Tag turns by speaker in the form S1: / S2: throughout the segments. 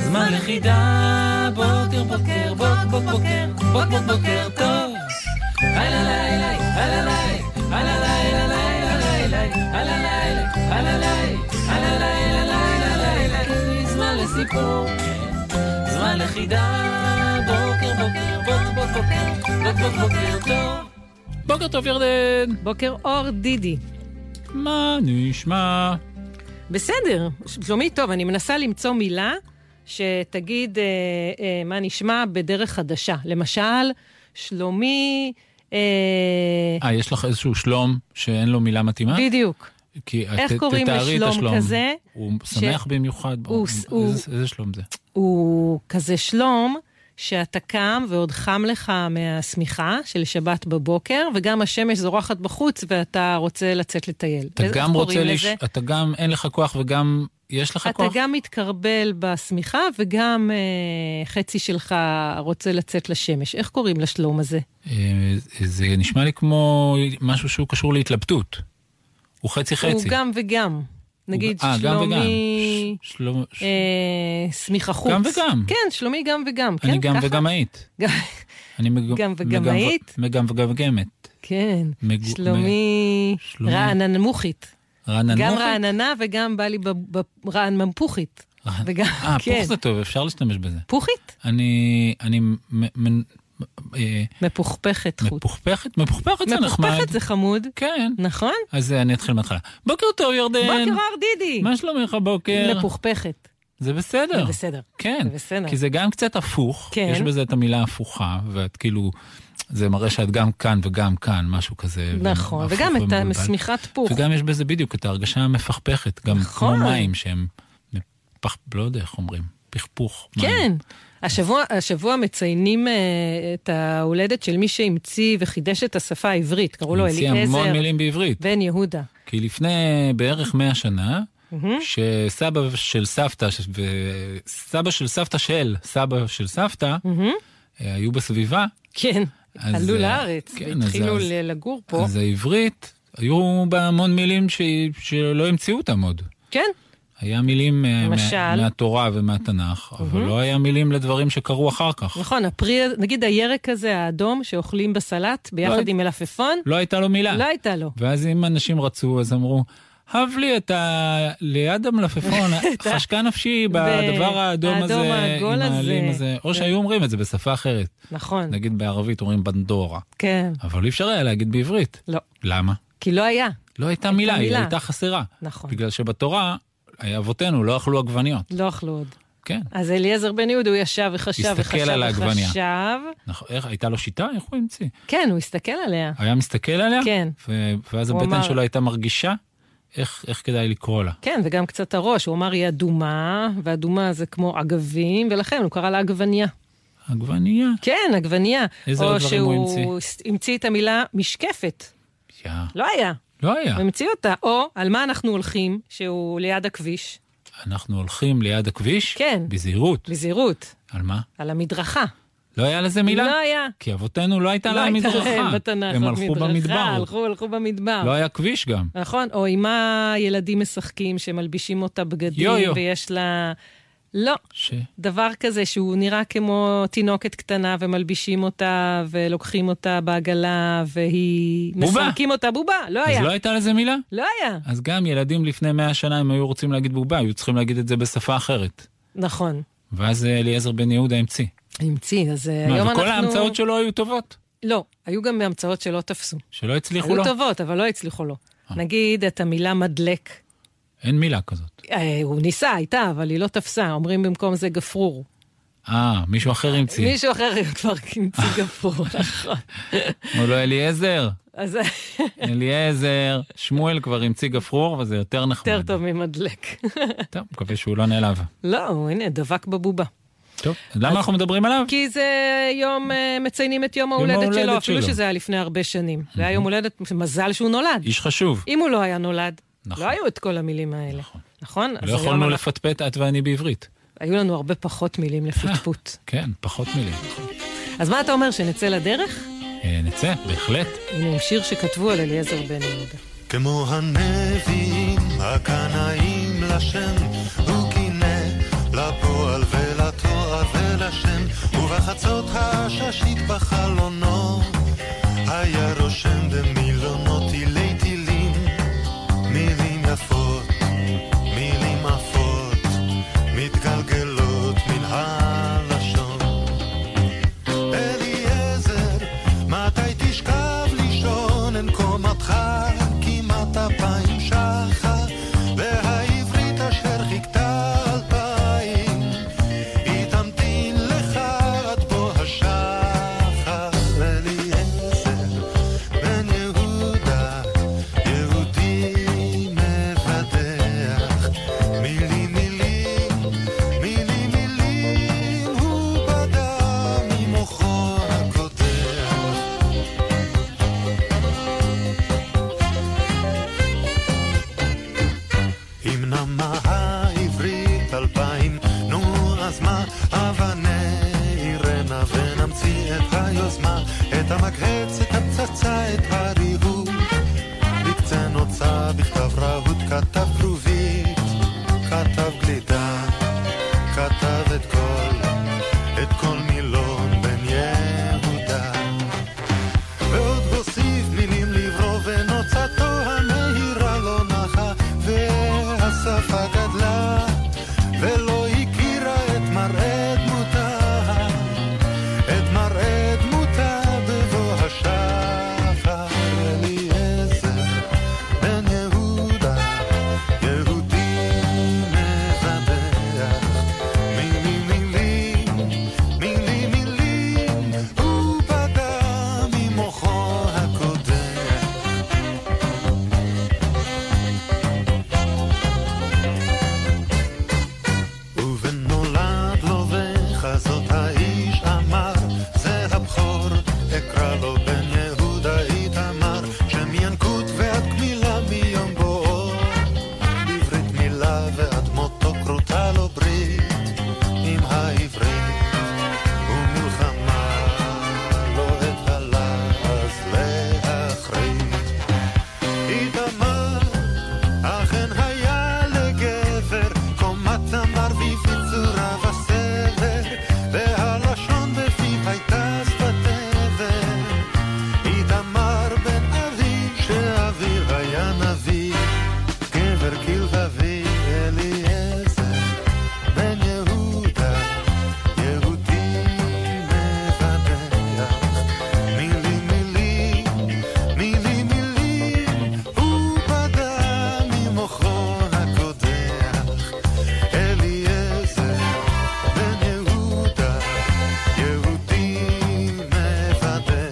S1: זמן לחידה. בוקר, בוקר, בוק, בוק, בוקר, בוקר, בוקר טוב. הלא לילה, הלא לילה, הלא לילה, לילה, לילה, הלא לילה, הלא לילה, הלא לילה, לילה, לילה. זמן לסיפור. זמן לחידה, בוקר בוקר, בוק בוק בוקר, בוק בוק בוקר טוב. בוקר טוב ירדן,
S2: בוקר אור דידי.
S1: מה נשמע?
S2: בסדר, שלומי טוב, אני מנסה למצוא מילה שתגיד אה, אה, מה נשמע בדרך חדשה. למשל, שלומי... אה,
S1: אה, יש לך איזשהו שלום שאין לו מילה מתאימה?
S2: בדיוק.
S1: כי
S2: איך
S1: את-
S2: קוראים
S1: תתארי את
S2: לשלום
S1: השלום.
S2: כזה?
S1: הוא שמח במיוחד.
S2: הוא-
S1: איזה-
S2: הוא-
S1: איזה שלום זה?
S2: הוא כזה שלום שאתה קם ועוד חם לך מהשמיכה של שבת בבוקר, וגם השמש זורחת בחוץ ואתה רוצה לצאת לטייל.
S1: אתה
S2: איך
S1: גם רוצה,
S2: קוראים
S1: לש-
S2: לזה?
S1: אתה גם אין לך כוח וגם יש לך
S2: אתה
S1: כוח?
S2: גם מתקרבל בשמיכה וגם אה, חצי שלך רוצה לצאת לשמש. איך קוראים לשלום הזה?
S1: אה, זה נשמע לי כמו משהו שהוא קשור להתלבטות. הוא חצי חצי.
S2: הוא גם וגם. נגיד
S1: אה, גם וגם.
S2: שלומי
S1: ש- שלום- ש-
S2: אה, שמיכה חוץ.
S1: גם וגם.
S2: כן, שלומי גם וגם.
S1: אני
S2: כן,
S1: גם
S2: ככה?
S1: וגמאית.
S2: גם-
S1: אני מג-
S2: גם
S1: מגמ-
S2: וגמאית?
S1: מגם וגמגמת.
S2: כן,
S1: מג-
S2: שלומי
S1: שלומי.
S2: רענן מוחית.
S1: רענן
S2: גם
S1: מוחי?
S2: רעננה וגם בא לי ב- ב- רען ממפוחית.
S1: רענן-
S2: וגם,
S1: אה,
S2: כן.
S1: פוך זה טוב, אפשר להשתמש בזה.
S2: פוחית?
S1: אני... אני... מ- מ- אה,
S2: מפוחפכת חוט.
S1: מפוחפכת? מפוחפכת זה נחמד.
S2: מפוחפכת זה חמוד,
S1: כן.
S2: נכון?
S1: אז אה, אני אתחיל מההתחלה. בוקר טוב, ירדן.
S2: בוקר אור דידי.
S1: מה שלומך בוקר?
S2: מפוחפכת.
S1: זה בסדר.
S2: זה בסדר.
S1: כן.
S2: זה בסדר.
S1: כי זה גם קצת הפוך.
S2: כן.
S1: יש בזה את המילה הפוכה, ואת כאילו... זה מראה שאת גם כאן וגם כאן, משהו כזה.
S2: נכון,
S1: והפוך
S2: וגם את
S1: ומבולבל.
S2: השמיכת פוך.
S1: וגם יש בזה בדיוק את ההרגשה המפכפכת, גם כמו
S2: נכון.
S1: מים שהם, מפח, לא יודע איך אומרים, פכפוך. מים.
S2: כן. השבוע, השבוע מציינים uh, את ההולדת של מי שהמציא וחידש את השפה העברית, קראו לו
S1: המציא המון
S2: לא אליעזר
S1: מילים בעברית.
S2: בן יהודה.
S1: כי לפני בערך 100 שנה, שסבא של סבתא, ש- וסבא של סבתא של סבא של סבתא, אה, היו בסביבה,
S2: כן,
S1: אז,
S2: עלו
S1: אה,
S2: לארץ,
S1: כן, אז-
S2: והתחילו
S1: אז-
S2: ל- לגור פה.
S1: אז העברית, היו בה המון מילים ש... שלא המציאו אותם עוד.
S2: כן,
S1: היה מילים אה,
S2: למשל?
S1: מה... מהתורה ומהתנ"ך, אבל לא היה מילים לדברים שקרו אחר כך.
S2: נכון, הפרי, נגיד הירק הזה, האדום, שאוכלים בסלט
S1: לא
S2: ביחד
S1: הי-
S2: עם מלפפון,
S1: לא הייתה לו מילה.
S2: לא הייתה לו.
S1: ואז אם אנשים רצו, אז אמרו, הב לי את ה... ליד המלפפון, חשקה נפשי בדבר האדום הזה,
S2: האדום העגול
S1: עם
S2: הזה." כן.
S1: העלים הזה. או שהיו אומרים את זה בשפה אחרת.
S2: נכון,
S1: נגיד בערבית אומרים בנדורה,
S2: כן,
S1: אבל אי אפשר היה להגיד בעברית.
S2: לא,
S1: למה?
S2: כי לא היה,
S1: לא הייתה מילה, היא
S2: מילה.
S1: הייתה חסרה.
S2: נכון,
S1: בגלל שבתורה, היה אבותינו לא אכלו עגבניות.
S2: לא אכלו עוד.
S1: כן.
S2: אז אליעזר בן יהודה, הוא ישב וחשב
S1: הסתכל
S2: וחשב
S1: על העגבניה.
S2: וחשב.
S1: נכון, איך, הייתה לו שיטה? איך הוא המציא?
S2: כן, הוא הסתכל עליה.
S1: היה מסתכל עליה?
S2: כן.
S1: ו- ואז
S2: הוא
S1: הבטן
S2: אמר-
S1: שלו הייתה מרגישה איך, איך כדאי לקרוא לה.
S2: כן, וגם קצת הראש, הוא אמר היא אדומה, ואדומה זה כמו אגבים, ולכן הוא קרא לה עגבניה.
S1: עגבנייה.
S2: כן, עגבניה.
S1: איזה עוד דברים הוא
S2: או שהוא המציא את המילה משקפת,
S1: יא,
S2: לא היה,
S1: לא היה.
S2: הוא המציא אותה. או על מה אנחנו הולכים, שהוא ליד הכביש,
S1: אנחנו הולכים ליד הכביש,
S2: כן.
S1: בזהירות.
S2: בזהירות,
S1: על מה?
S2: על המדרכה.
S1: לא היה לזה מילה?
S2: לא היה.
S1: כי אבותינו לא הייתה
S2: לא
S1: להם
S2: הייתה
S1: מדרכה.
S2: להם בתנ"ך,
S1: הם
S2: זאת
S1: הלכו
S2: מדרכה,
S1: במדבר.
S2: הלכו, הלכו במדבר.
S1: לא היה כביש גם.
S2: נכון, או עם מה ילדים משחקים, שמלבישים אותה בגדים,
S1: יו-יו.
S2: ויש לה... לא,
S1: ש...
S2: דבר כזה שהוא נראה כמו תינוקת קטנה ומלבישים אותה ולוקחים אותה בעגלה והיא...
S1: בובה.
S2: מסלקים אותה בובה, לא
S1: אז
S2: היה.
S1: לא הייתה לזה מילה?
S2: לא היה.
S1: אז גם ילדים לפני 100 שנה, אם היו רוצים להגיד בובה, היו צריכים להגיד את זה בשפה אחרת.
S2: נכון.
S1: ואז אה, אליעזר בן יהודה המציא.
S2: המציא, אז אה,
S1: מה,
S2: היום אנחנו...
S1: וכל ההמצאות שלו היו טובות,
S2: לא, היו גם המצאות שלא תפסו.
S1: שלא הצליחו לו. אה.
S2: היו טובות, אבל לא הצליחו לו. נגיד את המילה מדלק.
S1: אין מילה כזאת.
S2: אה, הוא ניסה, הייתה, אבל היא לא תפסה. אומרים במקום זה גפרור.
S1: אה, מישהו אחר המציא.
S2: מישהו אחר כבר המציא גפרור, נכון.
S1: אמרו לו אליעזר,
S2: אז
S1: אליעזר, שמואל כבר המציא גפרור, וזה יותר נחמד.
S2: יותר טוב ממדלק.
S1: טוב, מקווה שהוא לא נעלב.
S2: לא, הנה, דבק בבובה.
S1: טוב, למה אנחנו מדברים עליו?
S2: כי זה יום, אה, מציינים את יום ההולדת
S1: ההולדת
S2: שלו, אפילו
S1: שלו. Mhm.
S2: שזה היה לפני הרבה שנים. זה היה יום הולדת, מזל שהוא נולד.
S1: איש חשוב.
S2: אם הוא לא היה נולד,
S1: נכון.
S2: לא היו את כל המילים האלה. נכון? אז
S1: לא
S2: היום
S1: יכולנו
S2: אנחנו-
S1: לפטפט את ואני בעברית.
S2: היו לנו הרבה פחות מילים לפטפוט.
S1: כן, פחות מילים.
S2: אז מה אתה אומר, שנצא לדרך?
S1: אה, נצא, בהחלט.
S2: הנה עם שיר שכתבו על אליעזר בן יהודה.
S3: כמו הנביאים הקנאים לשם, הוא קינא לפועל ולתואר ולשם, ובחצות העששית בחלונו, היה רושם במילונות תילי תילים, מילים יפות, מילים עפות, מתגלגלות מן הלשון. אליעזר, מתי תשכב לישון? אין קומתך כמעט אפיים שחה, והעברית אשר חיכתה אלפיים, היא תמתין לך עד בוא השחר. אליעזר, בן יהודה, יהודי מבדח, מילים מילים, מילים מילים, הוא בדה ממוחו הקודח. אם נמה העברית אלפיים, נו אז מה, הבה נעירנה ונמציא את היוזמה, את המקהץ, את הפצצה, את הריהוט. בקצה נוצה, בכתב רהוט, כתב כרובית, כתב גלידה, כתב את כל, את כל מילון בן יהודה. ועוד הוסיף מילים לברוא ונוצתו המהירה לא נחה והשפה גדלה ולא הכירה את מראה דמותה את מראה דמותה בבוא השחר אליעזר בן יהודה יהודי מבדח מילים מילים מילים מילים, הוא פגע ממוחו הקודח. ובנולד לו וחזות האיש אמר, זה הבכור, אקרא לו בן יהודה איתמר, שם ינקות ועד גמילה מיום בואו, בברית מילה ועד מותו כרותה לו ברית עם העברית. ומלחמה לא את הלעז להחריד. איתמר, אכן היה לגבר, קומת המרביב בצורה וסבר, והלשון בפיו הייתה שפת עבר. איתמר בן אבי, שאביו היה נביא, גבר כלבבי אליעזר, בן יהודה, יהודי מבדח. מילים מילים, מילים מילים, הוא פגע ממוחו הקודח. אליעזר בן יהודה, יהודי מבדח.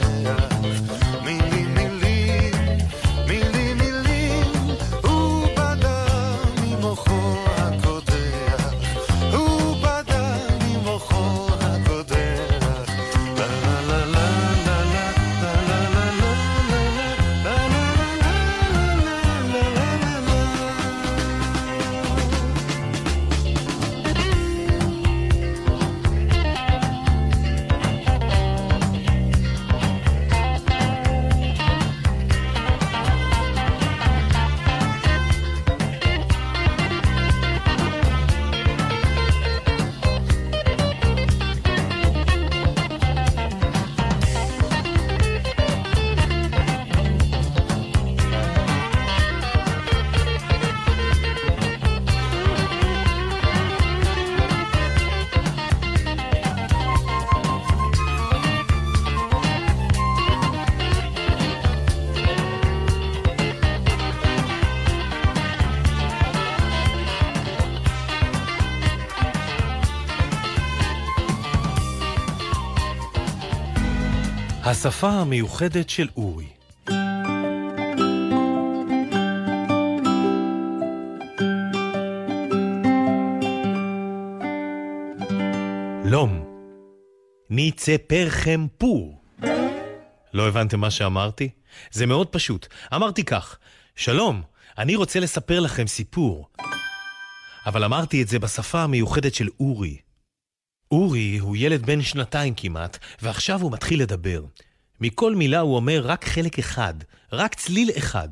S3: מילים מילים, מילים מילים, הוא פגע ממוחו הקודח. הוא פגע ממוחו הקודח. לה לה לה לה לה לה לה לה לה לה לה לה לה לה לה
S4: השפה המיוחדת של אורי. לום. ניצה פרחם פור. לא הבנתם מה שאמרתי? זה מאוד פשוט. אמרתי כך, שלום, אני רוצה לספר לכם סיפור. אבל אמרתי את זה בשפה המיוחדת של אורי. אורי הוא ילד בן שנתיים כמעט, ועכשיו הוא מתחיל לדבר. מכל מילה הוא אומר רק חלק אחד, רק צליל אחד.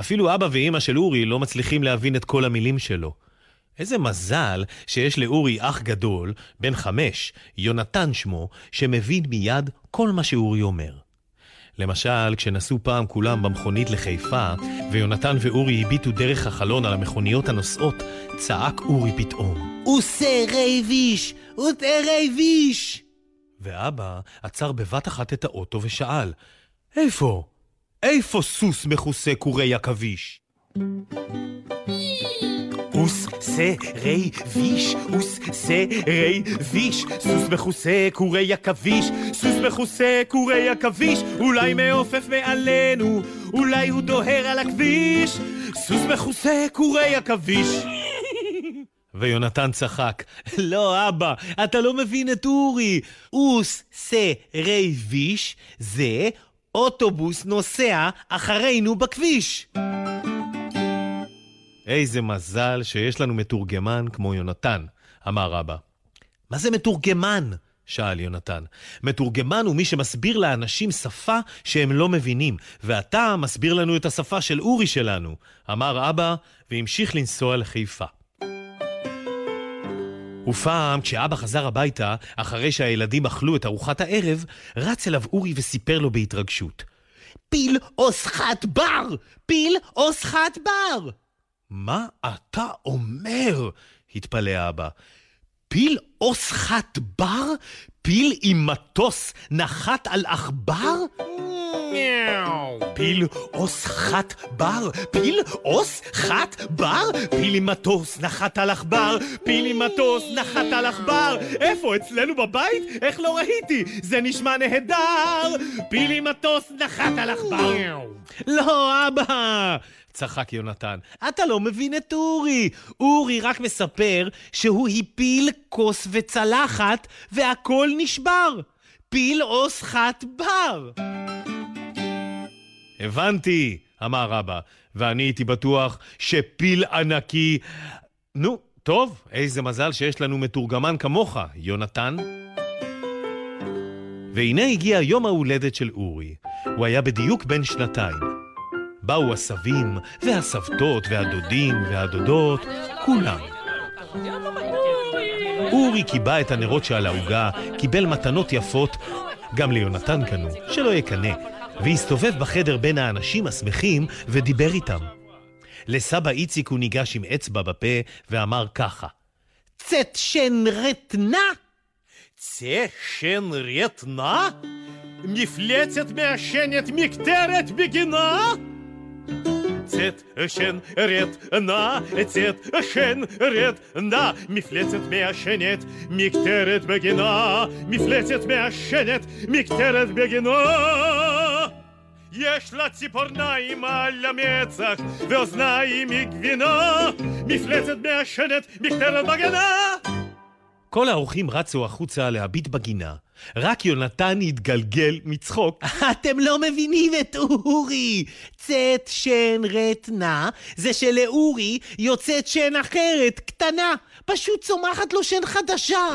S4: אפילו אבא ואימא של אורי לא מצליחים להבין את כל המילים שלו. איזה מזל שיש לאורי אח גדול, בן חמש, יונתן שמו, שמבין מיד כל מה שאורי אומר. למשל, כשנסעו פעם כולם במכונית לחיפה, ויונתן ואורי הביטו דרך החלון על המכוניות הנוסעות, צעק אורי פתאום. הוא סרייביש! הוא סרייביש! ואבא עצר בבת אחת את האוטו ושאל, איפה? איפה סוס מכוסה קורי עכביש? אוס סרי ויש, אוס סרי ויש, סוס מכוסה קורי עכביש, סוס מכוסה קורי עכביש, אולי מעופף מעלינו, אולי הוא דוהר על הכביש, סוס מכוסה קורי עכביש. ויונתן צחק, לא אבא, אתה לא מבין את אורי, אוס סרי ויש זה אוטובוס נוסע אחרינו בכביש. איזה מזל שיש לנו מתורגמן כמו יונתן, אמר אבא. מה זה מתורגמן? שאל יונתן. מתורגמן הוא מי שמסביר לאנשים שפה שהם לא מבינים, ואתה מסביר לנו את השפה של אורי שלנו, אמר אבא, והמשיך לנסוע לחיפה. ופעם, כשאבא חזר הביתה, אחרי שהילדים אכלו את ארוחת הערב, רץ אליו אורי וסיפר לו בהתרגשות. פיל או סחת בר! פיל או סחת בר! מה אתה אומר? התפלא אבא. פיל או סחת בר? פיל עם מטוס נחת על עכבר? פיל אוס חת בר, פיל אוס חת בר, פיל עם מטוס נחת על עכבר, פיל עם מטוס נחת על עכבר, איפה, אצלנו בבית? איך לא ראיתי? זה נשמע נהדר! פיל עם מטוס נחת על עכבר. לא, אבא! צחק יונתן, אתה לא מבין את אורי. אורי רק מספר שהוא הפיל כוס וצלחת והכל נשבר. פיל אוס חת בר. הבנתי, אמר אבא, ואני הייתי בטוח שפיל ענקי... נו, טוב, איזה מזל שיש לנו מתורגמן כמוך, יונתן. והנה הגיע יום ההולדת של אורי. הוא היה בדיוק בן שנתיים. באו הסבים, והסבתות, והדודים, והדודות, כולם. אורי קיבע את הנרות שעל העוגה, קיבל מתנות יפות, גם ליונתן קנו, שלא יקנא, והסתובב בחדר בין האנשים השמחים ודיבר איתם. לסבא איציק הוא ניגש עם אצבע בפה ואמר ככה: צאת שן רטנה? צאת שן רטנה? מפלצת מעשנת מקטרת בגינה? צאת שן רטנה, צאת שן רטנה, מפלצת מעשנת, מקטרת בגינה, מפלצת מעשנת, מקטרת בגינה. יש לה ציפורניים על המצח ואוזניים מגבינה, מפלצת מעשנת, מקטרת בגינה. כל האורחים רצו החוצה להביט בגינה. רק יונתן התגלגל מצחוק. אתם לא מבינים את אורי! צאת שן רטנה, זה שלאורי יוצאת שן אחרת, קטנה. פשוט צומחת לו שן חדשה.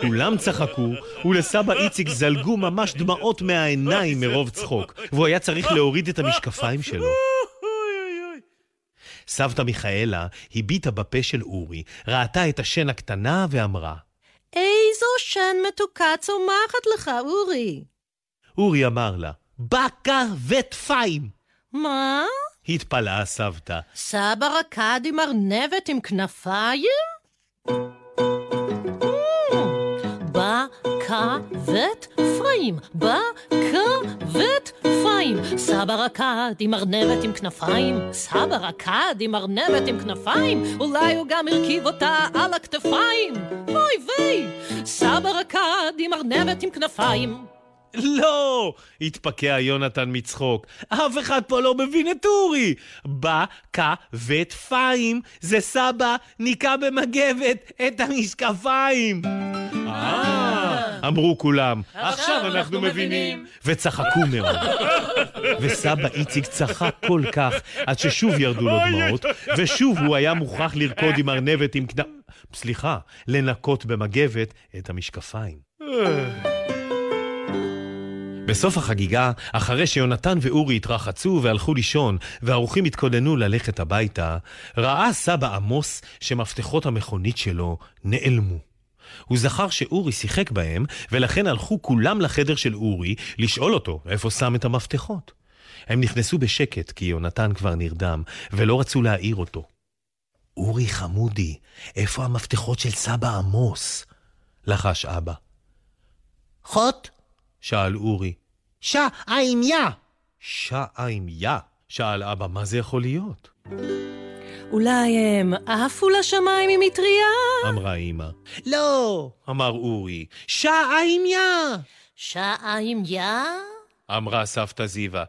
S4: כולם צחקו, ולסבא איציק זלגו ממש דמעות מהעיניים מרוב צחוק, והוא היה צריך להוריד את המשקפיים שלו. סבתא מיכאלה הביטה בפה של אורי, ראתה את השן הקטנה ואמרה.
S2: איזו שן מתוקה צומחת לך, אורי.
S4: אורי אמר לה, בקר וטפיים!
S2: מה?
S4: התפלאה הסבתא.
S2: סבא רקד עם ארנבת עם כנפיים? Mm. בכבת פיים, בכבת פיים. סבא רקד עם ארנבת עם כנפיים, סבא רקד עם ארנבת עם כנפיים, אולי הוא גם הרכיב אותה על הכתפיים. אוי ויי! סבא רקד עם ארנבת עם כנפיים.
S4: לא! התפקע יונתן מצחוק. אף אחד פה לא מבין את אורי! בכבת פיים זה סבא ניקה במגבת את המשקפיים! אה! אמרו כולם, עכשיו אנחנו מבינים. וצחקו מאוד. וסבא איציק צחק כל כך, עד ששוב ירדו לו דמעות, ושוב הוא היה מוכרח לרקוד עם ארנבת עם כנף... סליחה, לנקות במגבת את המשקפיים. בסוף החגיגה, אחרי שיונתן ואורי התרחצו והלכו לישון, והאורחים התכוננו ללכת הביתה, ראה סבא עמוס שמפתחות המכונית שלו נעלמו. הוא זכר שאורי שיחק בהם, ולכן הלכו כולם לחדר של אורי לשאול אותו איפה שם את המפתחות. הם נכנסו בשקט, כי יונתן כבר נרדם, ולא רצו להעיר אותו. אורי חמודי, איפה המפתחות של סבא עמוס? לחש אבא.
S5: חוט,
S4: שאל אורי.
S5: שע, עין, יא.
S4: שעיים יא? שאל אבא, מה זה יכול להיות?
S2: אולי הם עפו לשמיים עם מטריה?
S4: אמרה אמא.
S5: לא,
S4: אמר אורי, שעיים יא!
S2: שעיים יא?
S4: אמרה סבתא זיווה.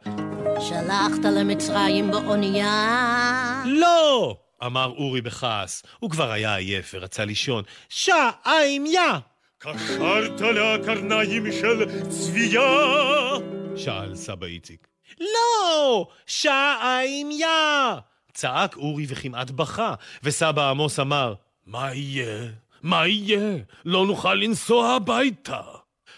S2: שלחת למצרים באונייה?
S4: לא! אמר אורי בכעס. הוא כבר היה עייף ורצה לישון. שעיים יא!
S3: קשרת לקרניים של צביה.
S4: שאל סבא איציק. לא! שעיים יא! צעק אורי וכמעט בכה, וסבא עמוס אמר, מה יהיה? מה יהיה? לא נוכל לנסוע הביתה.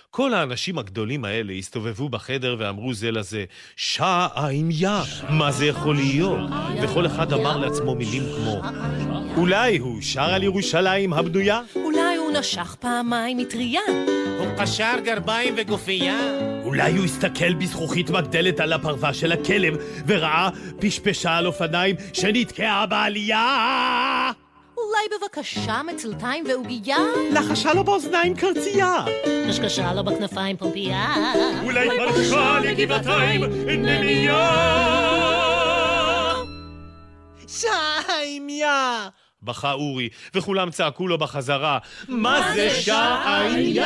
S4: כל האנשים הגדולים האלה הסתובבו בחדר ואמרו זה לזה, שעיים יא, מה זה יכול להיות? וכל אחד אמר לעצמו מילים כמו, אולי הוא שר על ירושלים הבנויה?
S2: אולי הוא נשך פעמיים מטריה?
S6: הוא קשר גרביים וגופייה.
S4: אולי הוא הסתכל בזכוכית מגדלת על הפרווה של הכלב וראה פשפשה על אופניים שנתקעה בעלייה!
S2: אולי בבקשה מצלתיים ועוגייה?
S4: לחשה לו באוזניים קרצייה!
S2: קשקשה לו בכנפיים פומפייה?
S3: אולי ברחה לגבעתיים נמיה.
S4: שעיים יא! בכה אורי, וכולם צעקו לו בחזרה, מה זה שעיים יא?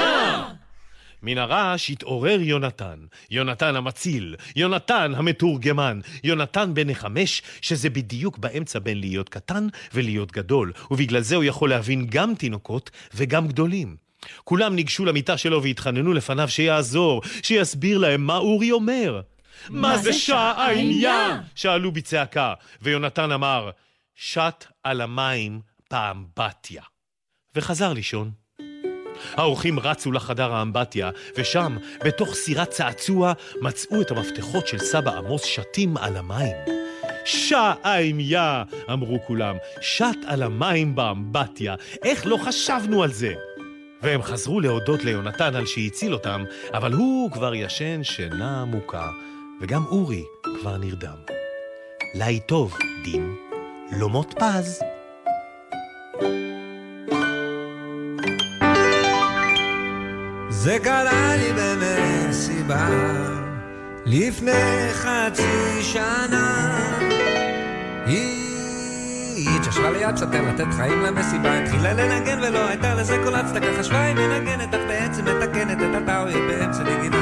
S4: מן הרעש התעורר יונתן, יונתן המציל, יונתן המתורגמן, יונתן בן החמש, שזה בדיוק באמצע בין להיות קטן ולהיות גדול, ובגלל זה הוא יכול להבין גם תינוקות וגם גדולים. כולם ניגשו למיטה שלו והתחננו לפניו שיעזור, שיסביר להם מה אורי אומר. מה זה שעיים יא? שאלו בצעקה, ויונתן אמר, שט על המים באמבטיה. וחזר לישון. האורחים רצו לחדר האמבטיה, ושם, בתוך סירת צעצוע, מצאו את המפתחות של סבא עמוס שתים על המים. שעיים יא! אמרו כולם, שט על המים באמבטיה, איך לא חשבנו על זה? והם חזרו להודות ליונתן על שהציל אותם, אבל הוא כבר ישן שינה עמוקה, וגם אורי כבר נרדם. ליל טוב, דים, לומות פז.
S7: זה קרה לי במסיבה לפני חצי שנה. היא התיישבה ליד סטר לתת חיים למסיבה, התחילה לנגן ולא הייתה לזה כל הצדקה, חשבה היא מנגנת, אך בעצם מתקנת את הטאווי באמצע נגינה.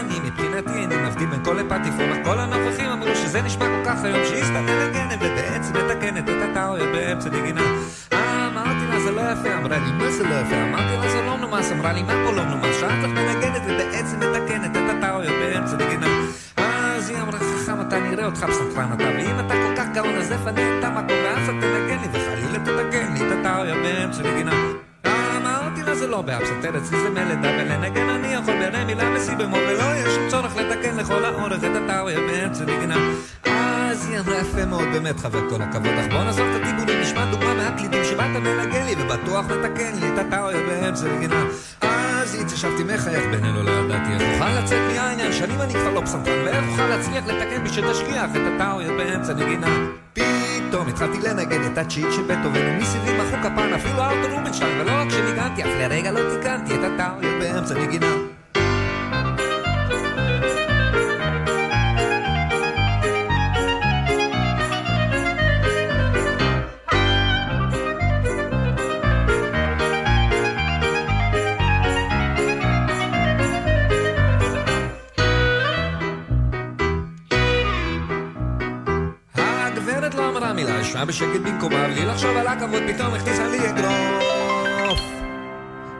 S7: אני מבחינתי אני מבדיל בין כל לפטיפון, אך כל הנוכחים אמרו שזה נשמע כל כך היום שהיא סתם מנגנת ובעצם מתקנת את הטאווי באמצע נגינה. אמרתי לה זה לא יפה, אמרה לי מה זה לא יפה, אמרתי לה זה לא מנומס, אמרה לי מה פה לא מנומס, שאת את מנגנת ובעצם מתקנת את הטעויות באמצע נגינה. אז היא אמרה חכם אתה נראה אותך בסנטרן אתה, ואם אתה כל כך גאון אז לפני את המקום, ואז אתה תנגן לי וחלילה תתקן לי את הטעויות באמצע נגינה. אמרתי לה זה לא באפסטר אצלי זה מלדה ולנגן אני יכול ברמי מילה בסי במול ולא יש שום צורך לתקן לכל האורך את הטאוויר באמצע נגינה אז היא אמרה יפה מאוד באמת חבר כל הכבוד אך בוא נעזוב את הטיבולים נשמע דוגמה מהקלידים שבאת מנגן לי ובטוח מתקן לי את הטאוויר באמצע נגינה אז התיישבתי מחייך בינינו לא ידעתי איך אוכל לצאת מהעניין שנים אני כבר לא פסנתן ואיך אוכל להצליח לתקן בשביל תשגיח את הטאוויר באמצע נגינה פתאום התחלתי לנגן את הצ'יט של בטהובן ומסביבי מחאו כפן אפילו ארתור רובינשטיין ולא רק שניגנתי אף לרגע לא תיקנתי את הטאוויר באמצע נגינה לא בשקט במקומה, בלי לחשוב על עכבות, פתאום הכניסה לי אגרוף.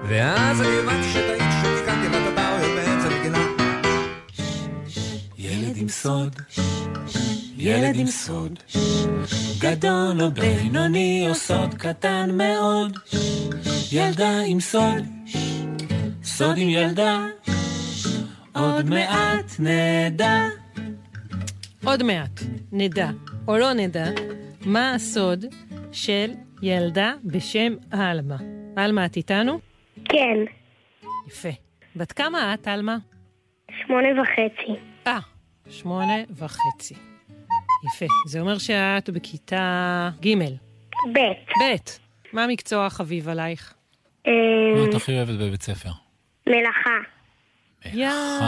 S7: ואז אני הבנתי שטעיתי שתיקנתי לה את הטאויות באמצע וגילה.
S1: ילד עם סוד, ילד עם סוד, גדול או בינוני או סוד קטן מאוד, ילדה עם סוד, סוד עם ילדה, עוד מעט נדע.
S2: עוד מעט נדע, או לא נדע, מה הסוד של ילדה בשם עלמה. עלמה, את איתנו?
S8: כן,
S2: יפה. בת כמה את, עלמה?
S8: שמונה וחצי.
S2: אה, שמונה וחצי. יפה. זה אומר שאת בכיתה ג',
S8: ב'.
S2: ב'. מה המקצוע החביב עלייך?
S8: אה,
S1: מה את הכי אוהבת בבית ספר?
S8: מלאכה.
S1: מלאכה.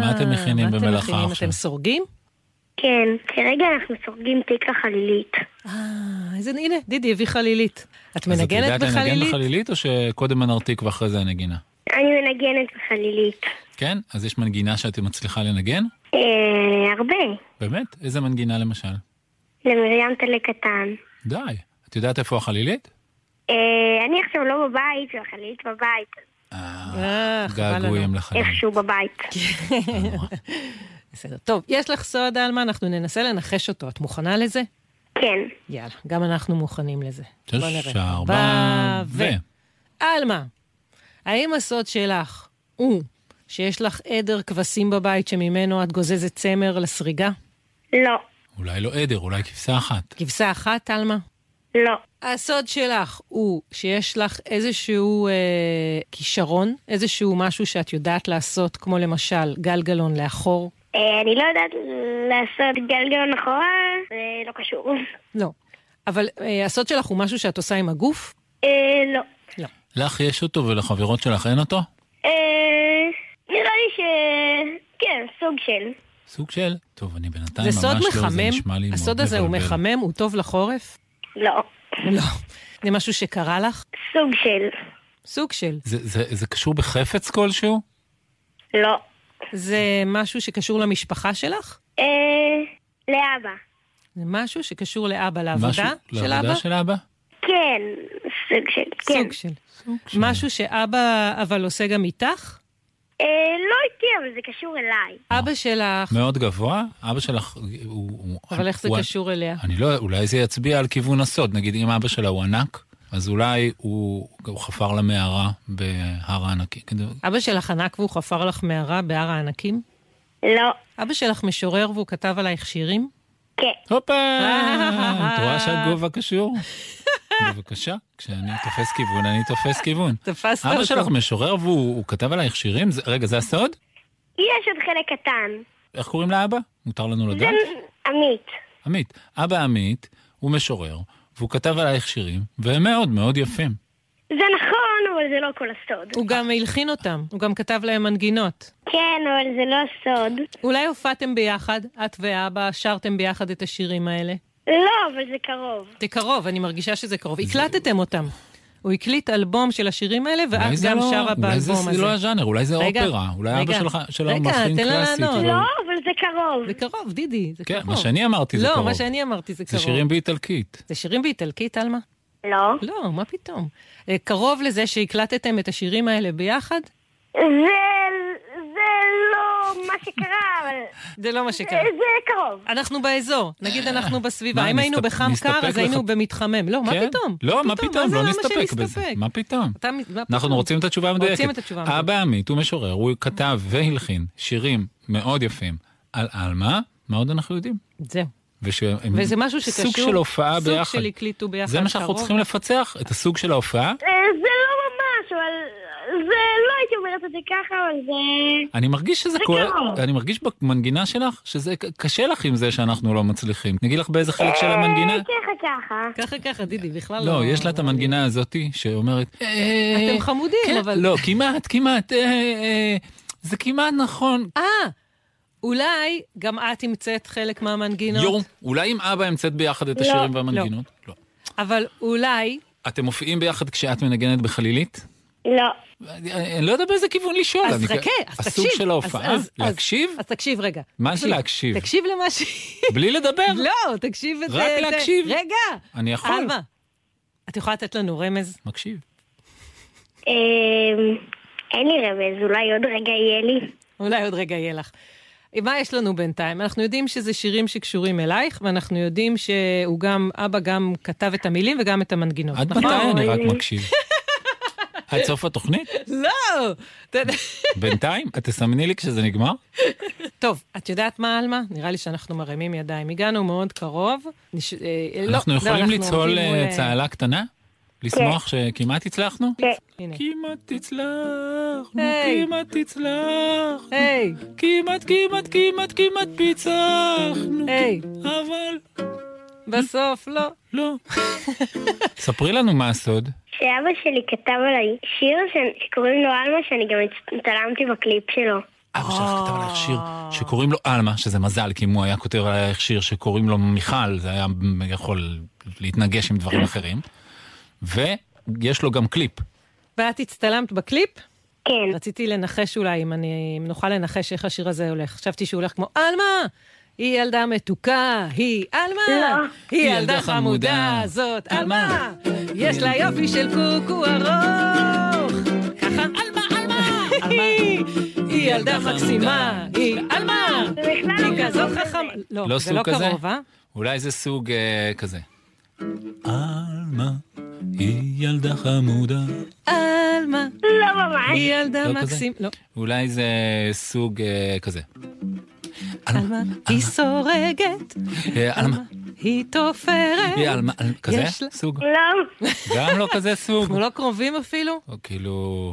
S1: מה אתם מכינים
S2: מה
S1: במלאכה
S2: אתם מכינים?
S1: עכשיו?
S2: אתם סורגים?
S8: כן, כרגע אנחנו סורגים תיק לחלילית.
S2: אה, איזה... הנה, דידי הביא חלילית. את
S1: אז את
S2: מנגנת
S1: יודעת לנגן
S2: בחלילית?
S1: בחלילית או שקודם הנרתיק ואחרי זה הנגינה?
S8: אני מנגנת בחלילית.
S1: כן? אז יש מנגינה שאת מצליחה לנגן?
S8: אה, הרבה.
S1: באמת? איזה מנגינה למשל?
S8: למרים טלה קטן.
S1: די. את יודעת איפה החלילית?
S8: אה, אני עכשיו לא בבית, והחלילית בבית.
S2: אה, חבל לנו.
S1: געגועים לחלילית.
S8: איכשהו בבית.
S2: כן. בסדר. טוב, יש לך סוד, עלמה, אנחנו ננסה לנחש אותו. את מוכנה לזה?
S8: כן.
S2: יאללה, גם אנחנו מוכנים לזה. בוא
S1: תשע,
S2: נראה.
S1: ארבע, ו...
S2: עלמה, האם הסוד שלך הוא שיש לך עדר כבשים בבית שממנו את גוזזת צמר לסריגה?
S8: לא.
S1: אולי לא עדר, אולי כבשה אחת.
S2: כבשה אחת, עלמה?
S8: לא.
S2: הסוד שלך הוא שיש לך איזשהו אה, כישרון, איזשהו משהו שאת יודעת לעשות, כמו למשל גלגלון לאחור.
S8: אה, אני לא יודעת לעשות גלגלון אחורה, זה לא קשור.
S2: לא. אבל אה, הסוד שלך הוא משהו שאת עושה עם הגוף?
S8: אה, לא.
S1: לך יש אותו ולחברות שלך אין אותו?
S8: אה, נראה לי ש... כן, סוג של.
S1: סוג של... טוב, אני בינתיים
S2: זה
S1: ממש
S2: סוד
S1: לא, זה
S2: מחמם?
S1: נשמע לי מאוד
S2: הסוד הזה הוא
S1: מבלבל.
S2: מחמם? הוא טוב לחורף?
S8: לא.
S2: לא. זה משהו שקרה לך?
S8: סוג של.
S2: סוג של.
S1: זה, זה, זה קשור בחפץ כלשהו?
S8: לא.
S2: זה משהו שקשור למשפחה שלך?
S8: אה, לאבא.
S2: זה משהו שקשור לאבא, לעבודה
S1: משהו-
S2: של
S1: לעבודה
S2: אבא?
S1: של אבא?
S8: כן, סוג של, כן.
S2: סוג של. משהו שאבא אבל עושה גם איתך?
S8: אה, לא איתי, אבל זה קשור אליי.
S2: אבא שלך,
S1: מאוד גבוה? אבא שלך הוא... הוא-
S2: אבל איך זה
S1: הוא-
S2: קשור אליה?
S1: אני לא, אולי זה יצביע על כיוון הסוד. נגיד, אם אבא שלה הוא ענק, אז אולי הוא, הוא חפר לה מערה בהר הענקי. כן, כדי-
S2: אבא שלך ענק והוא חפר לך מערה בהר הענקים?
S8: לא.
S2: אבא שלך משורר והוא כתב עלייך שירים?
S8: כן.
S1: הופה! את
S2: אה.
S1: רואה שהגובה קשור? בבקשה, כשאני תופס כיוון, אני תופס כיוון.
S2: תפסת אותו.
S1: אבא שלך משורר והוא הוא כתב עלייך שירים? זה- רגע, זה הסוד?
S8: יש עוד חלק קטן.
S1: איך קוראים לאבא? מותר לנו
S8: זה
S1: לדעת?
S8: עמית.
S1: עמית. אבא עמית הוא משורר, והוא כתב עלייך שירים, והם מאוד מאוד יפים.
S8: זה נכון, אבל זה לא כל הסוד.
S2: הוא גם הלחין אותם, הוא גם כתב להם מנגינות.
S8: כן, אבל זה לא הסוד.
S2: אולי הופעתם ביחד, את ואבא, שרתם ביחד את השירים האלה?
S8: לא, אבל זה קרוב.
S2: זה קרוב, אני מרגישה שזה קרוב. הקלטתם אותם. הוא הקליט אלבום של השירים האלה,
S1: אולי
S2: ואת
S1: זה
S2: גם
S1: לא-
S2: שרה
S1: אולי זה-
S2: באלבום הזה.
S1: זה לא הז'אנר, אולי זה
S2: רגע,
S1: אופרה. אולי אבא
S2: רגע,
S1: שלך שלה הוא
S2: רגע,
S1: מלחין
S2: תן לה
S1: קלאסית.
S2: לענות.
S1: אבל-
S8: לא, אבל זה קרוב.
S2: זה קרוב, דידי, זה
S1: כאילו. כן,
S2: קרוב.
S1: מה שאני אמרתי זה
S2: לא,
S1: קרוב.
S2: מה שאני אמרתי זה
S1: זה
S2: קרוב.
S1: שירים באיטלקית.
S2: זה שירים באיטלקית, עלמה?
S8: לא.
S2: לא, מה פתאום. אה, קרוב לזה שהקלטתם את השירים האלה ביחד?
S8: זה... זה לא מה שקרה, אבל... אה,
S2: זה לא מה שקרה.
S8: זה קרוב.
S2: אנחנו באזור, נגיד אנחנו בסביבה.
S1: מה,
S2: אם היינו
S1: נסתפ-
S2: בחם
S1: נסתפק
S2: קר, אז היינו
S1: לך-
S2: במתחמם. לא, מה
S1: כן?
S2: פתאום?
S1: לא, מה פתאום?
S2: מה
S1: לא
S2: זה למה
S1: נסתפק בזה.
S2: שנסתפק?
S1: מה פתאום?
S2: אתה- מה פתאום?
S1: אנחנו רוצים את התשובה המדויקת. אה,
S2: רוצים את התשובה המדויקת.
S1: אבא עמית הוא משורר, הוא כתב והלחין שירים מאוד יפים על עלמה, מה עוד אנחנו יודעים?
S2: זהו.
S1: ושהם
S2: וזה משהו שקשור...
S1: סוג של הופעה ביחד.
S2: סוג של הקליטו ביחד.
S1: זה מה שאנחנו
S2: קרוב.
S1: צריכים לפצח, את הסוג של ההופעה.
S8: אה, זה לא ממש, אבל... זה... לא הייתי אומרת את זה ככה, אבל זה...
S1: אני מרגיש שזה
S8: זה
S1: כואב,
S8: קרוב.
S1: אני מרגיש במנגינה שלך שזה ק- קשה לך עם זה שאנחנו לא מצליחים. נגיד לך באיזה חלק של המנגינה?
S2: כן,
S8: אה, ככה ככה.
S2: ככה ככה, דידי, בכלל לא...
S1: לא, יש לה את המנגינה הזאתי שאומרת... "אה,
S2: אתם חמודים,
S1: כן,
S2: אבל...
S1: לא, כמעט, כמעט, אה, אה, זה כמעט נכון.
S2: אה, אולי גם את המצאת חלק מהמנגינות.
S1: יו, אולי אם אבא המצאת ביחד את
S2: לא.
S1: השירים והמנגינות? לא.
S2: אבל אולי...
S1: אתם מופיעים ביחד כשאת מנגנת בחלילית?
S8: לא.
S1: אני- אני לא יודע באיזה כיוון לשאול.
S2: אז
S1: אני-
S2: חכה, אז תקשיב.
S1: הסוג של ההופעה,
S2: אז- אז- אז-
S1: להקשיב?
S2: אז תקשיב רגע.
S1: מה זה להקשיב?
S2: תקשיב למה ש...
S1: בלי לדבר?
S2: לא, תקשיב את זה.
S1: רק
S2: את זה.
S1: להקשיב.
S2: רגע.
S1: אני יכול.
S2: אלמה, את יכולה לתת לנו רמז?
S1: מקשיב. אה.
S8: אמ, אין לי רמז, אולי עוד רגע יהיה לי.
S2: אולי עוד רגע יהיה לך. מה יש לנו בינתיים? אנחנו יודעים שזה שירים שקשורים אלייך, ואנחנו יודעים שהוא גם, אבא גם כתב את המילים וגם את המנגינות,
S1: עד
S2: נכון?
S1: מתי אני רק
S8: אוי.
S1: מקשיב? עד סוף התוכנית?
S2: לא! אתה יודע-
S1: בינתיים? את תסמני לי כשזה נגמר?
S2: טוב, את יודעת מה, עלמה? נראה לי שאנחנו מרימים ידיים. הגענו מאוד קרוב. נש- אה, לא,
S1: אנחנו
S2: לא,
S1: יכולים
S2: אנחנו
S1: לצהול
S2: עומדים מול,
S1: אה,
S2: אה, כן.
S1: צהלה קטנה? לשמוח שכמעט הצלחנו?
S2: הנה. אה?
S1: כמעט הצלחנו,
S2: היי.
S1: כמעט הצלחנו,
S2: היי,
S1: כמעט, כמעט, כמעט, כמעט פיצחנו,
S2: היי,
S1: אבל
S2: בסוף לא.
S1: לא. ספרי לנו מה הסוד.
S2: אה.
S8: שאבא שלי כתב עליי שיר ש- שקוראים לו עלמה, שאני גם הצטלמתי בקליפ שלו.
S1: אבא שלך כתב עלייך שיר שקוראים לו עלמה, שזה מזל, כי אם הוא היה כותב עלייך שיר שקוראים לו מיכל, זה היה יכול להתנגש עם דברים אחרים. ויש לו גם קליפ.
S2: ואת הצטלמת בקליפ?
S8: כן.
S2: רציתי לנחש אולי, אם, אני, אם נוכל לנחש איך השיר הזה הולך. חשבתי שהוא הולך כמו, עלמה! היא ילדה מתוקה, היא עלמה!
S8: לא.
S2: היא ילדה חמודה, זאת עלמה! יש לה יופי של קוקו ארוך! ככה? עלמה, עלמה! היא ילדה מקסימה, היא עלמה! היא כזאת חכמה...
S1: לא
S2: לא, זה
S1: סוג
S2: לא
S1: כזה?
S2: קרוב, אה?
S1: אולי זה סוג אה, כזה. עלמה, היא ילדה חמודה.
S2: עלמה,
S8: לא ממש.
S2: היא ילדה
S1: לא כזה?
S2: מקסימה... לא,
S1: אולי זה סוג אה, כזה.
S2: עלמה, היא סורגת,
S1: אה, עלמה,
S2: היא תופרת.
S1: היא עלמה, על- כזה
S2: אה, יש לה-
S1: סוג?
S8: לא.
S1: גם לא כזה סוג.
S2: אנחנו לא קרובים אפילו?
S1: או כאילו,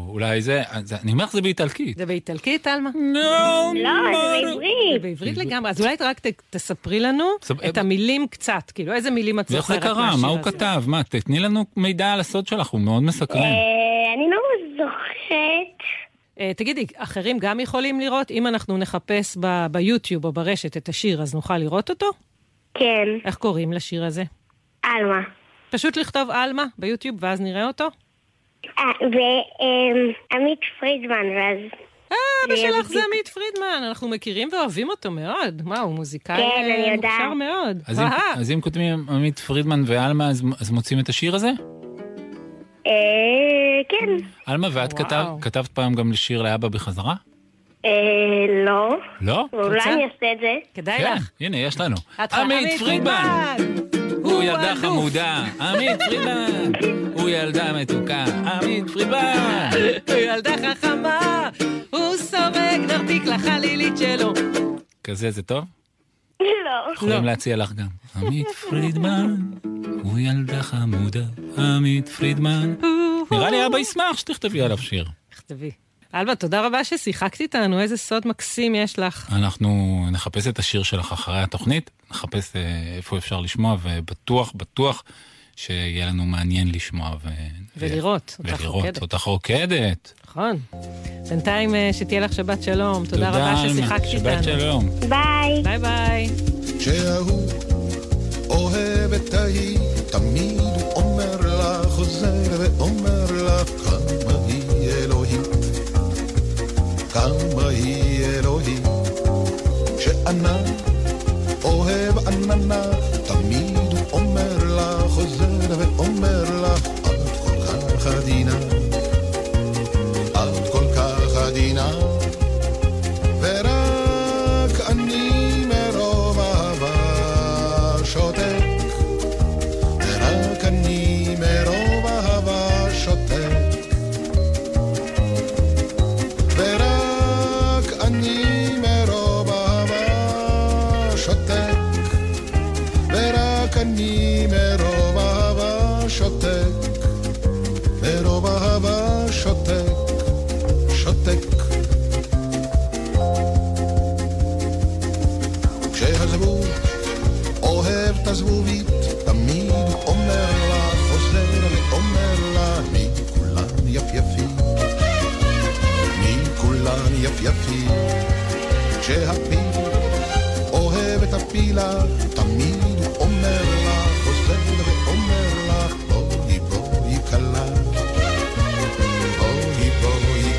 S1: אולי זה, אז אני אומר לך זה באיטלקית.
S2: זה באיטלקית, עלמה?
S8: לא, זה בעברית.
S2: בעברית לגמרי, אז אולי את רק ת- תספרי לנו
S1: סב-
S2: את המילים קצת, כאילו איזה מילים את
S1: ואיך זה
S2: זוכרת
S1: קרה?
S2: מהשיר
S1: מה הוא
S2: הזה.
S1: כתב? מה, תתני לנו מידע על הסוד שלך, הוא מאוד מסקרן.
S8: אה, אני לא זוכרת.
S2: אה, תגידי, אחרים גם יכולים לראות? אם אנחנו נחפש ב- ביוטיוב או ברשת את השיר, אז נוכל לראות אותו?
S8: כן.
S2: איך קוראים לשיר הזה?
S8: עלמה.
S2: פשוט לכתוב עלמה ביוטיוב ואז נראה אותו?
S8: אה, ועמית אמ, פרידמן, ואז...
S2: אבא
S8: זה יהיה
S2: שלך זה
S8: בדיוק.
S2: עמית פרידמן, אנחנו מכירים ואוהבים אותו מאוד. מה, הוא מוזיקאי
S8: כן, אני
S2: אה,
S8: יודעת.
S2: מוכשר מאוד.
S1: אז אם-
S2: אהה.
S1: אז אם כותבים עמית פרידמן ועלמה, אז- אז מוצאים את השיר הזה?
S8: אה, כן.
S1: עלמה, ואת
S2: וואו.
S1: כתב- כתבת פעם גם לשיר לאבא בחזרה?
S8: אה, לא.
S1: לא?
S8: אולי
S2: רוצה?
S8: אני אעשה את זה.
S2: כדאי
S1: כן,
S2: לך.
S1: הנה, יש לנו.
S2: את-
S1: עמית פרידמן! הוא ילדה
S2: אלוף.
S1: חמודה, עמית פרידמן! הוא ילדה מתוקה, עמית פרידמן!
S2: הוא אה, ילדה חכמה, הוא סורג נרתיק לחלילית שלו.
S1: כזה זה טוב?
S8: לא.
S1: יכולים להציע לך גם. עמית פרידמן, הוא ילדה חמודה, עמית פרידמן. נראה לי אבא ישמח שתכתבי עליו שיר.
S2: תכתבי. אלבה, תודה רבה ששיחקת איתנו, איזה סוד מקסים יש לך.
S1: אנחנו נחפש את השיר שלך אחרי התוכנית, נחפש אה, איפה אפשר לשמוע, ובטוח, בטוח שיהיה לנו מעניין לשמוע. ו...
S2: ולראות,
S1: ו-
S2: אותך
S1: ולראות
S2: רוקדת.
S1: אותך רוקדת.
S2: נכון. בינתיים אה, שתהיה לך שבת שלום, תודה רבה
S1: עלמה.
S2: ששיחקת
S1: שבת
S2: איתנו.
S1: שלום.
S8: ביי.
S2: ביי ביי.
S9: שההוא אוהב את ההיא, תמיד הוא אומר לה, חוזר ואומר לה, כמה היא אלוהית, כמה היא אלוהית. שאנה אוהב עננה, תמיד הוא אומר לה, חוזר ואומר לה, את כל כך עדינה, את כל כך עדינה. ורק אני מרוב אהבה שותק. ורק אני מרוב אהבה שותק. ורק אני מרוב אהבה שותק. ורק אני מרוב אהבה שותק. מרוב אהבה שותק. שותק. כשהזבוב אוהב את הזבובית, תמיד הוא אומר לה, חוזר ואומר לה, מי כולן יפייפית, מי כולן יפייפית. כשהפיל אוהב את הפילה, תמיד הוא אומר לה, חוזר ואומר לה, בואי בואי כלה, בואי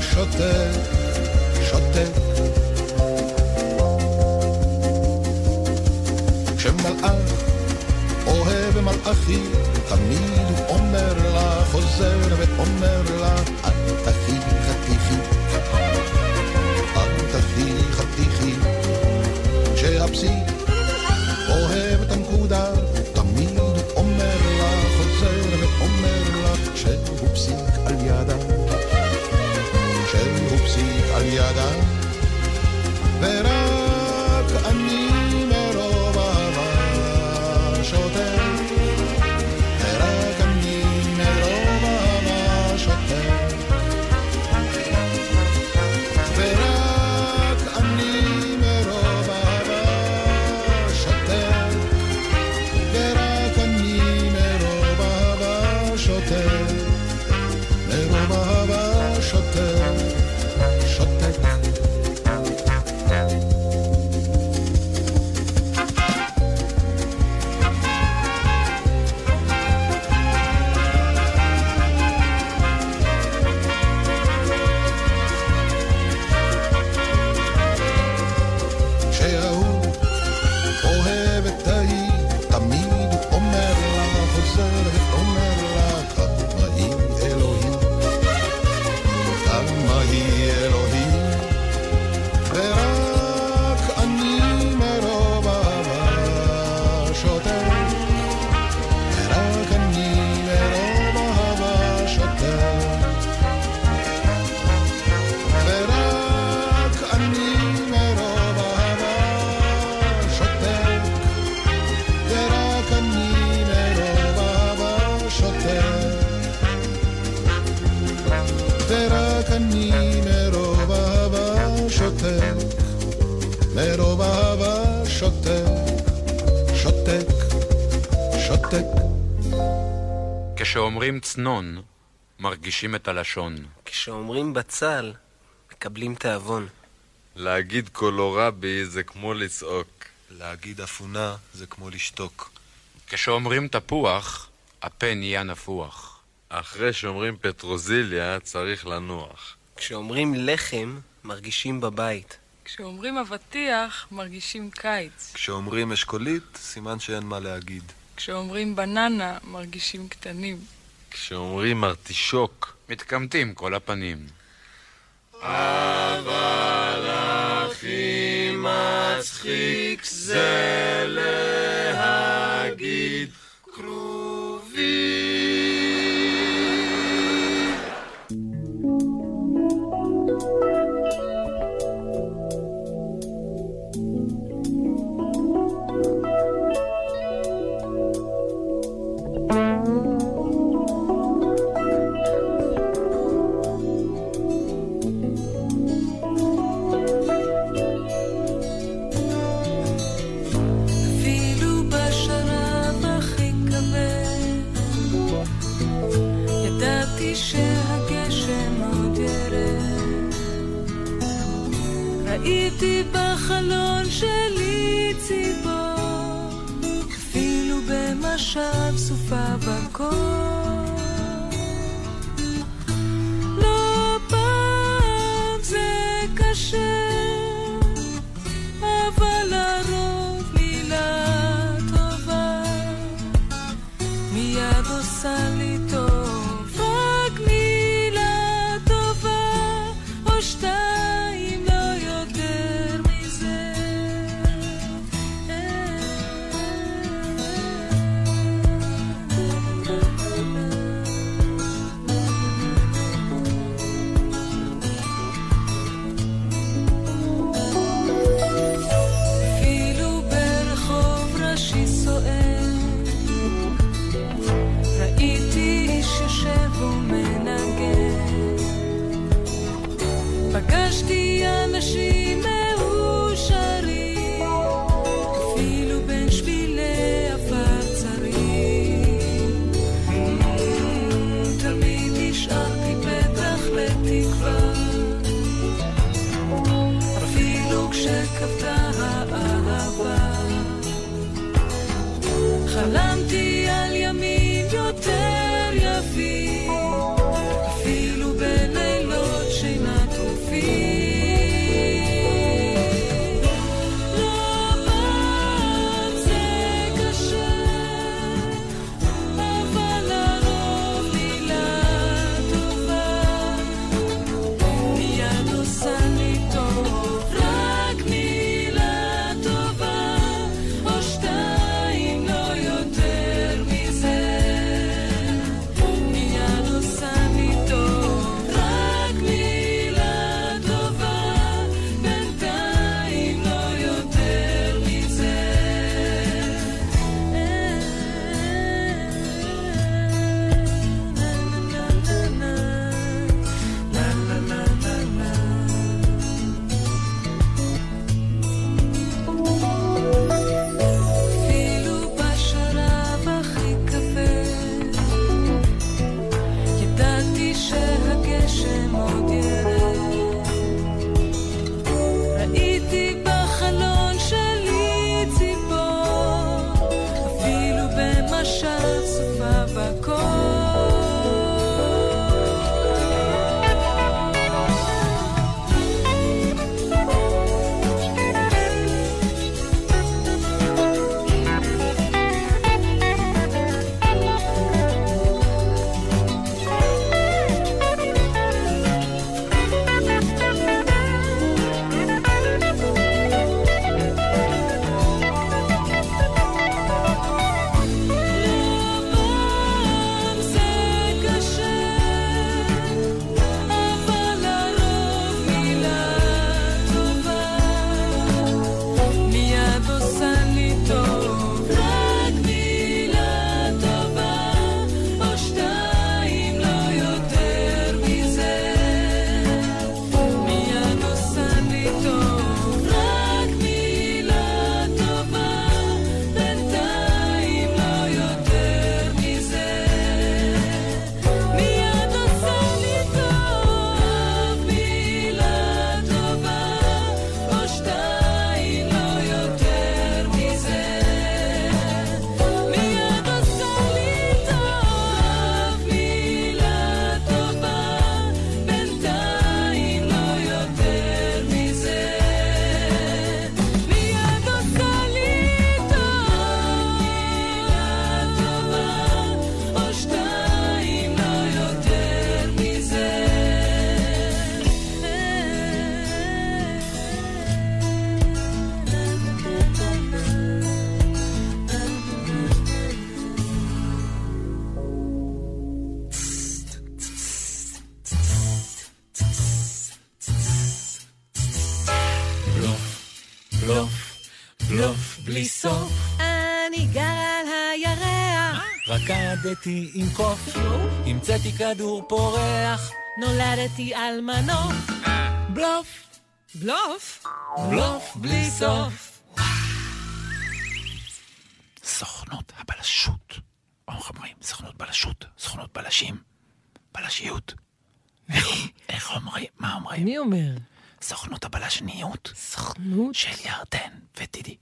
S9: שותק, שותק. כשמלאך אוהב מלאכי, תמיד הוא אומר לה, חוזר ואומר לה, את אחי חתיכי. את אחי חתיכי. כשהפסיק אוהב את הנקודה, תמיד הוא אומר לה, חוזר ואומר לה, כשהוא פסיק על ידה. כשהוא פסיק על ידה, ורק אני מרוב אהבה שותק. ורק אני מרוב אהבה שותק. ורק אני מרוב אהבה שותק. ורק אני מרוב אהבה שותק. מרוב אהבה שותק. שותק. כשההוא אוהב את ההיא, תמיד הוא אומר לה, חוזר ואומר לה, כמה היא אלוהים, כמה היא אלוהים. ורק אני מרוב אהבה שותק, ורק אני מרוב אהבה שותק. ורק אני מרוב אהבה שותק, ורק אני מרוב אהבה שותק, ורק אני מרוב אהבה שותק, מרוב אהבה שותק, שותק, שותק.
S10: כשאומרים צנון, מרגישים את הלשון.
S11: כשאומרים בצל, מקבלים תיאבון.
S12: להגיד קולורבי זה כמו לצעוק.
S10: להגיד אפונה זה כמו לשתוק. כשאומרים תפוח, הפה נהיה נפוח.
S12: אחרי שאומרים פטרוזיליה, צריך לנוח.
S11: כשאומרים לחם, מרגישים בבית.
S13: כשאומרים אבטיח, מרגישים קיץ.
S14: כשאומרים אשכולית, סימן שאין מה להגיד.
S13: כשאומרים בננה, מרגישים קטנים.
S10: כשאומרים ארטישוק, מתקמטים כל הפנים.
S3: אבל הכי מצחיק זה להגיד
S15: אפילו בשלב הכי כבד, ידעתי שהגשם עוד ירד. ראיתי בחלון שלי ציפור, אפילו במשב סופה בקור. לא פעם זה קשה, אבל לרוב מילה טובה מיד עושה לי טוב רק מילה טובה או שתיים לא יותר מזה אפילו ברחוב ראשי סוער. ראיתי איש יושב ומנגן. פגשתי אנשים מאושרים, אפילו בין שבילי עפר צרים. תמיד השארתי פתח לתקווה. אפילו כשכבתה האהבה. חלמתי על ימים יותר יפים, אפילו בלילות שינה טובה. בלוף, בלוף בלי סוף.
S2: אני גר על הירח,
S15: רקדתי עם קוף, המצאתי כדור פורח,
S2: נולדתי על מנוף.
S15: בלוף,
S2: בלוף?
S15: בלוף בלי סוף.
S16: סוכנות הבלשות. או איך אומרים? סוכנות בלשות, סוכנות בלשים, בלשיות. איך אומרים? מה אומרים?
S2: מי אומר?
S16: סוכנות הבלשניות
S2: סוכנות?
S16: של ירדן וטידי.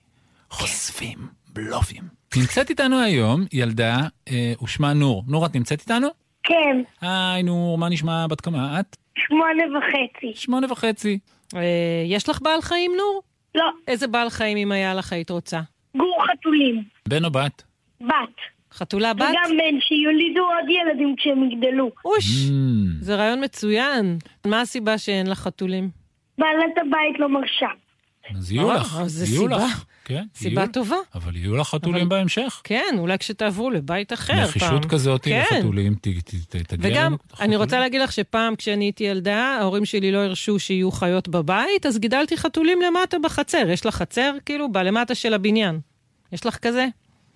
S16: חושפים בלופים.
S1: נמצאת איתנו היום ילדה, אה, ושמה נור. נור, את נמצאת איתנו?
S8: כן,
S1: היי נור, מה נשמע? בת כמה את?
S8: שמונה וחצי.
S1: שמונה וחצי.
S2: אה, יש לך בעל חיים, נור?
S8: לא.
S2: איזה בעל חיים, אם היה לך, היית רוצה?
S8: גור חתולים.
S1: בן או בת?
S8: בת.
S2: חתולה בת?
S8: וגם בן שיולידו עוד ילדים כשהם יגדלו.
S2: אוש,
S1: Mm.
S2: זה רעיון מצוין. מה הסיבה שאין לך חתולים?
S8: בעלת הבית לא מרשה.
S1: אז יהיו
S2: אה,
S1: לך,
S2: אז זה
S1: יהיו
S2: סיבה.
S1: לך. כן,
S2: סיבה
S1: יהיו-
S2: טובה.
S1: אבל יהיו לך חתולים בהמשך.
S2: כן, אולי כשתעברו לבית אחר פעם.
S1: נחישות כזאת
S2: כן.
S1: לחתולים, ת- ת- ת- תגיע
S2: וגם,
S1: לנו.
S2: אני רוצה להגיד לך שפעם כשאני הייתי ילדה, ההורים שלי לא הרשו שיהיו חיות בבית, אז גידלתי חתולים למטה בחצר. יש לך חצר, כאילו, בלמטה של הבניין. יש לך כזה?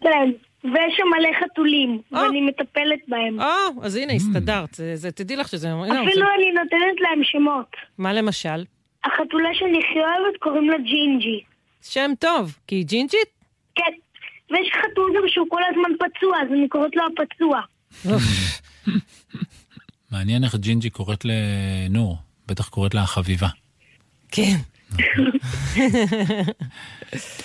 S8: כן, ויש שם מלא חתולים, ואני מטפלת בהם.
S2: או, אה. אז
S1: Mm.
S2: הנה, הסתדרת. זה- זה- תדעי לך שזה... הנה,
S8: אפילו
S2: זה-
S8: אני נותנת להם שמות.
S2: לא מה למשל?
S8: החתולה שאני הכי אוהבת קוראים לה ג'ינג'י.
S2: שם טוב, כי היא ג'ינג'ית?
S8: כן. ויש חתול גם שהוא כל הזמן פצוע, אז אני קוראת לו הפצוע.
S1: מעניין איך ג'ינג'י קוראת לנור, בטח קוראת לה החביבה.
S2: כן.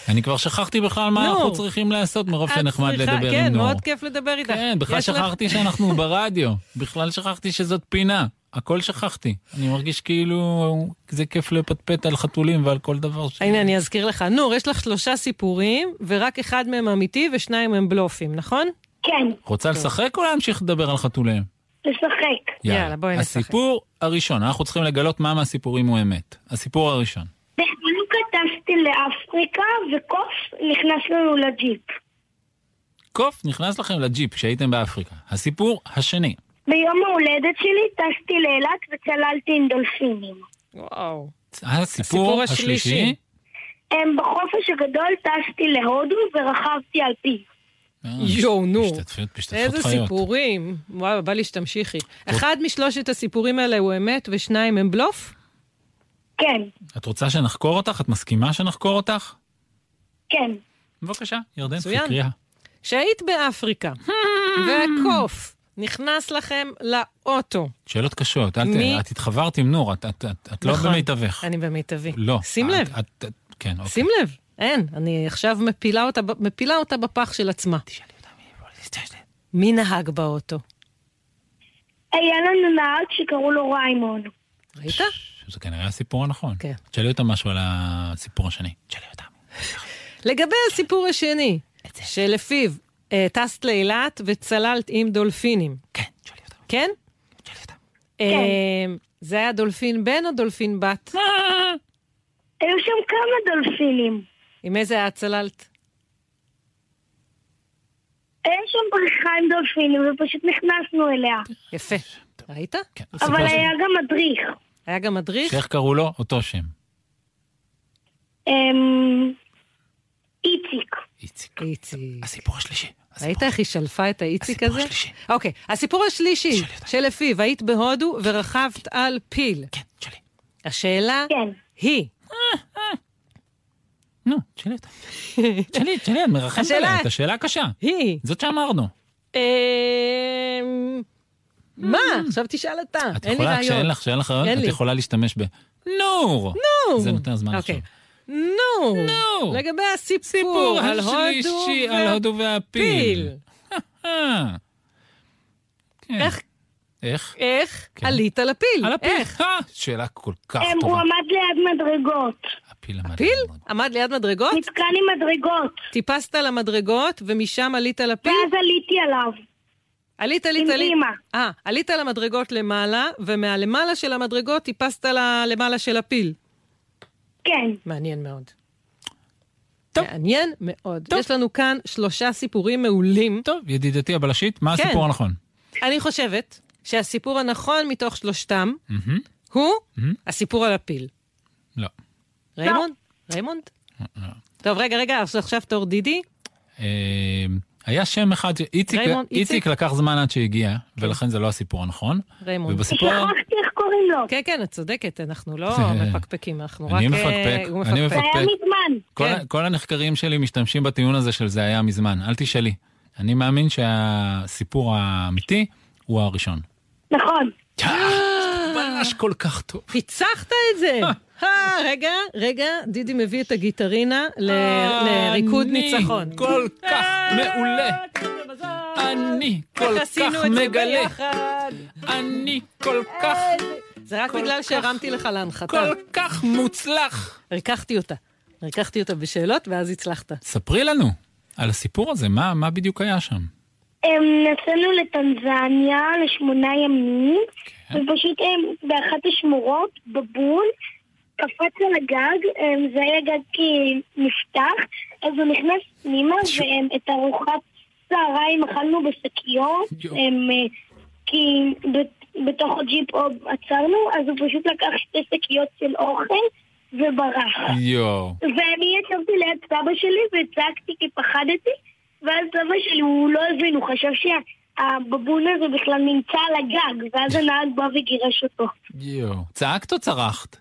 S1: אני כבר שכחתי בכלל מה
S2: נור.
S1: אנחנו צריכים לעשות מרוב
S2: לא. את
S1: שנחמד
S2: צריכה-
S1: לדבר עם
S2: כן,
S1: נור.
S2: מאוד כיף לדבר איתך.
S1: כן, בכלל
S2: יש לך-
S1: שכחתי שאנחנו ברדיו, בכלל שכחתי שזאת פינה, הכל שכחתי. אני מרגיש כאילו זה כיף לפטפט על חתולים ועל כל דבר ש...
S2: הנה, אני אזכיר לך. נור, יש לך שלושה סיפורים, ורק אחד מהם אמיתי ושניים הם בלופים, נכון?
S8: כן.
S1: רוצה לשחק או להמשיך לדבר על חתוליהם?
S8: לשחק.
S2: יאללה, בואי נשחק.
S1: הסיפור הראשון, אנחנו צריכים לגלות מה מהסיפורים הוא אמת. הסיפור הראשון.
S8: בחנוכה טסתי לאפריקה, וקוף נכנס לנו לג'יפ.
S1: קוף נכנס לכם לג'יפ כשהייתם באפריקה. הסיפור השני.
S8: ביום ההולדת שלי טסתי לאילת וצללתי עם דולפינים.
S2: וואו.
S1: הסיפור השלישי.
S8: הם בחופש הגדול טסתי להודו ורכבתי על פיו.
S2: יואו, נו.
S1: משתתפות
S2: איזה
S1: חיות.
S2: סיפורים. וואו, בא לי שתמשיכי. אחד משלושת הסיפורים האלה הוא אמת ושניים הם בלוף?
S8: כן,
S1: את רוצה שנחקור אותך? את מסכימה שנחקור אותך?
S8: כן.
S1: בבקשה, ירדן,
S2: מצוין.
S1: חקריה.
S2: שהיית באפריקה, והקוף נכנס לכם לאוטו.
S1: שאלות קשות, אל
S2: מי-
S1: ת... את התחברת עם נור, את, את, את, את לא
S2: נכון.
S1: במיטבך.
S2: אני במיטבי.
S1: לא.
S2: שים
S1: את-
S2: לב.
S1: את, את, כן, אוקיי.
S2: שים לב, אין, אני עכשיו מפילה אותה, ב- מפילה אותה בפח של עצמה. מי נהג באוטו?
S8: היה לנו נהג שקראו לו ריימון.
S2: ראית?
S1: זה כנראה הסיפור הנכון.
S2: כן.
S1: תשאלי אותה משהו על הסיפור השני. תשאלי אותה.
S2: לגבי הסיפור השני, שלפיו אה, טסת לאילת וצללת עם דולפינים. כן, תשאלי אותם. כן? תשאלי אותם.
S8: כן.
S2: זה היה דולפין בן או דולפין בת?
S8: אה, היו שם כמה דולפינים.
S2: עם איזה את צללת?
S8: היה שם בריכה עם דולפינים ופשוט נכנסנו אליה.
S2: יפה. ראית? כן.
S8: אבל היה גם מדריך.
S2: היה גם מדריך?
S1: שאיך קראו לו? אותו שם.
S8: אמ, איציק.
S1: איציק.
S2: איציק.
S1: הסיפור השלישי.
S2: ראית איך היא שלפה את האיציק הזה? הסיפור השלישי. אוקיי, הסיפור השלישי, שלפיו היית בהודו ורכבת על פיל. כן, תשאלי. השאלה
S8: כן.
S2: היא...
S1: נו, תשאלי אותה. תשאלי, תשאלי, את מרחמת
S2: השאלה-
S1: עליה, את השאלה הקשה.
S2: היא.
S1: זאת שאמרנו.
S2: אמ, מה? עכשיו תשאל אתה,
S1: Mm. את
S2: אין לי
S1: יכולה,
S2: רעיון.
S1: כשאין לך, כשאין לך רעיון,
S2: אין
S1: את
S2: לי.
S1: יכולה להשתמש ב... נור!
S2: נור!
S1: זה נותן זמן לחשוב.
S2: אוקיי. נו!
S1: נו.
S2: לגבי הסיפור
S1: סיפור
S2: על הודו
S1: השלישי
S2: וה-
S1: על הודו והפיל.
S2: פיל.
S1: אה, כן.
S2: איך-
S1: איך? כן.
S2: איך עלית על הפיל?
S1: על הפיל.
S2: איך?
S1: אה, שאלה כל כך
S8: אמ, הוא
S1: טובה.
S8: עמד ליד מדרגות.
S2: פיל? עמד ליד מדרגות?
S8: נתקע לי מדרגות.
S2: טיפסת על המדרגות ומשם עלית על הפיל?
S8: ואז עליתי עליו.
S2: עלית,
S8: עם
S2: עלית, עלית.
S8: אמא.
S2: אה, עלית על המדרגות למעלה, ומהלמעלה של המדרגות טיפסת ל- למעלה של הפיל.
S8: כן.
S2: מעניין מאוד. טוב. מעניין מאוד. טוב. יש לנו כאן שלושה סיפורים מעולים.
S1: טוב. ידידתי הבלשית, מה
S2: כן.
S1: הסיפור הנכון?
S2: אני חושבת שהסיפור הנכון מתוך שלושתם
S1: מהמם.
S2: הוא
S1: מהמם.
S2: הסיפור על הפיל.
S1: לא.
S2: ריימונד? ריימונד? טוב, רגע, רגע, אז עכשיו תור דידי.
S1: אה, היה שם אחד, ש- איציק-
S2: ריימונד, איציק.
S1: איציק לקח זמן עד שהגיע, ולכן זה לא הסיפור הנכון.
S2: ריימונד.
S1: ובסיפור-
S2: שכחתי איך קוראים לו. כן, כן, את צודקת, אנחנו לא מפקפקים, אנחנו רק...
S1: אני
S2: אה,
S1: מפקפק,
S2: הוא
S1: אני מפקפק. זה היה
S8: מזמן.
S1: כל, כן. כל הנחקרים שלי משתמשים בטיעון הזה של זה היה מזמן, אל תשאלי. אני מאמין שהסיפור האמיתי הוא הראשון.
S8: נכון.
S1: ממש כל כך טוב.
S2: פיצחת את זה! אה, רגע, רגע, דידי מביא את הגיטרינה ל-
S1: אה,
S2: לריקוד
S1: אני
S2: ניצחון.
S1: כל כך מעולה. אני כל
S2: איך עשינו
S1: כך
S2: את זה
S1: מגלה.
S2: ביחד.
S1: אני כל כך...
S2: זה רק
S1: כל
S2: בגלל
S1: כך-
S2: שהרמתי לך להנחתה.
S1: כל כך מוצלח.
S2: ריככתי אותה. ריככתי אותה בשאלות, ואז הצלחת.
S1: ספרי לנו על הסיפור הזה, מה, מה בדיוק היה שם?
S8: הם נסענו לטנזניה לשמונה ימים, ופשוט הם באחת השמורות, בבול, קפץ על הגג, הם, זה היה גג כי נפתח, אז הוא נכנס פנימה, והם את ארוחת צהריים אכלנו בשקיות, הם, אה, כי בת- בתוך הג'יפ עוד עצרנו, אז הוא פשוט לקח שתי שקיות של אוכל וברח.
S1: יואו.
S8: ואני ישבתי ליד סבא שלי וצעקתי כי פחדתי, ואז סבא שלי, הוא לא הבין, הוא חשב שהבבון הזה בכלל נמצא על הגג, ואז הנהג בא וגירש אותו.
S1: יואו. צעקת או צרחת?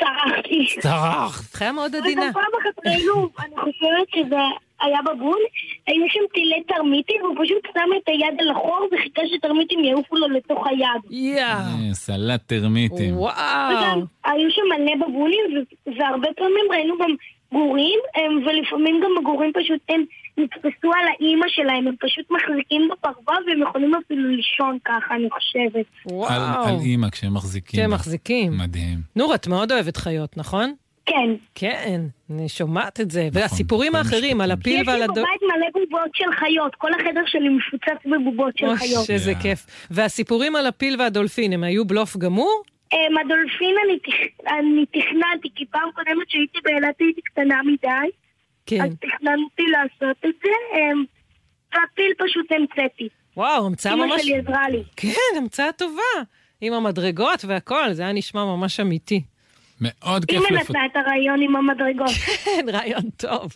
S8: צרחתי.
S1: צרחת.
S2: חיה מאוד
S8: עדינה. אבל פעם אחת ראינו, אני חושבת שזה היה בבון, היו שם טילי תרמיטים, הוא פשוט שם את היד על החור וחיכה שתרמיטים יעופו לו לתוך היד.
S2: יאה.
S1: אה, סלט טרמיטים.
S8: וגם היו שם מלא בבונים, ו- והרבה פעמים ראינו גם גורים, הם- ולפעמים גם הגורים פשוט הם נתפסו על האימא שלהם, הם פשוט מחזיקים בפרווה והם יכולים אפילו לישון ככה, אני חושבת.
S1: על, על אימא כשהם מחזיקים.
S2: כשהם
S1: בה.
S2: מחזיקים.
S1: מדהים.
S2: נור, את מאוד אוהבת חיות, נכון?
S8: כן.
S2: כן, אני שומעת את
S1: נכון,
S2: זה. והסיפורים האחרים, על הפיל ועל
S8: יש לי
S2: הדו...
S8: בבית מלא בובות של חיות, כל החדר שלי מפוצץ בבובות של
S2: אוי,
S8: חיות.
S2: שזה כיף. והסיפורים על הפיל והדולפין, הם היו בלוף גמור?
S8: אמ, הדולפין אני תכ- אני תכננתי, כי פעם קודמת שהייתי באילת הייתי קטנה מדי.
S2: כן.
S8: אז תכננתי לעשות את זה, אמ, והפיל פשוט המצאתי.
S2: וואו, המצאה ממש...
S8: אמא שלי עזרה לי.
S2: כן, המצאה טובה. עם המדרגות והכל, זה היה נשמע ממש אמיתי.
S1: מאוד כיף,
S8: אימא
S1: לפ...
S8: נתנה את הרעיון עם המדרגות.
S2: כן, רעיון טוב.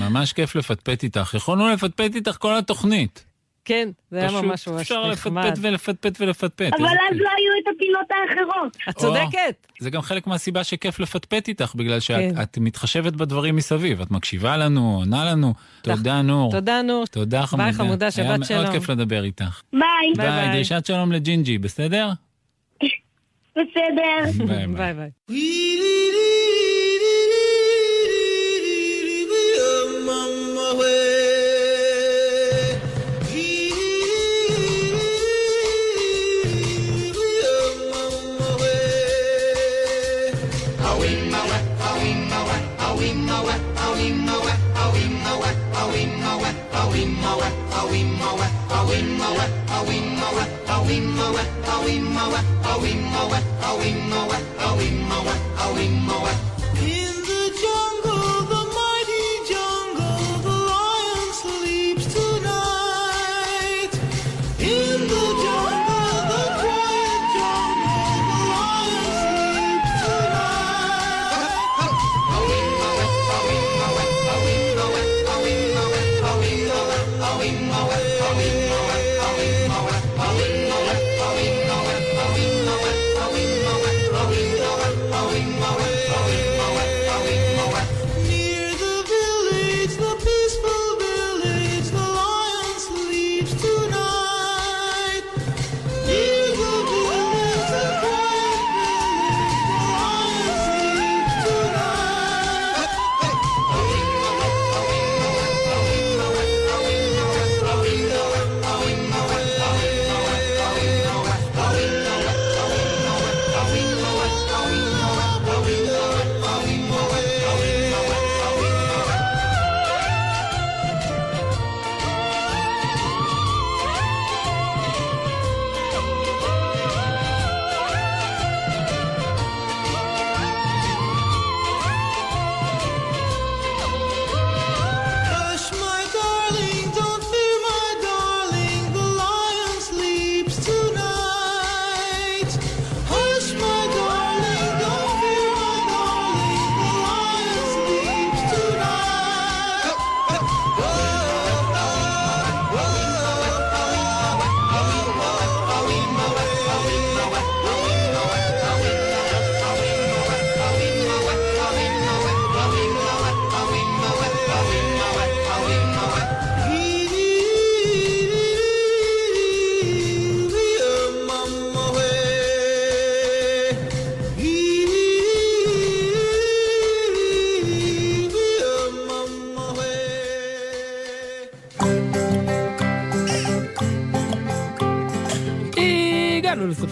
S1: ממש כיף לפטפט איתך. יכולנו לפטפט איתך כל התוכנית.
S2: כן, זה היה
S1: פשוט
S2: ממש ממש
S1: אפשר
S2: נחמד.
S1: לפטפט ולפטפט ולפטפט.
S8: אבל
S1: איזה
S8: אז
S1: כיף.
S8: לא היו את הפינות האחרות.
S1: את צודקת. זה גם חלק מהסיבה שכיף לפטפט איתך, בגלל שאת
S2: כן.
S1: את מתחשבת בדברים מסביב. את מקשיבה לנו, עונה לנו. תודה, נור.
S2: תודה, נור.
S1: תודה, חמודה.
S2: חמודה, שבת
S1: היה
S2: שלום.
S1: מאוד כיף לדבר איתך.
S8: ביי.
S1: ביי, דרישת שלום לג'ינג'י, בסדר?
S8: בסדר.
S1: ביי, ביי.
S2: ביי.
S17: In the jungle, the mighty jungle, the lion sleeps tonight. In the jungle, the quiet jungle, the lion sleeps tonight.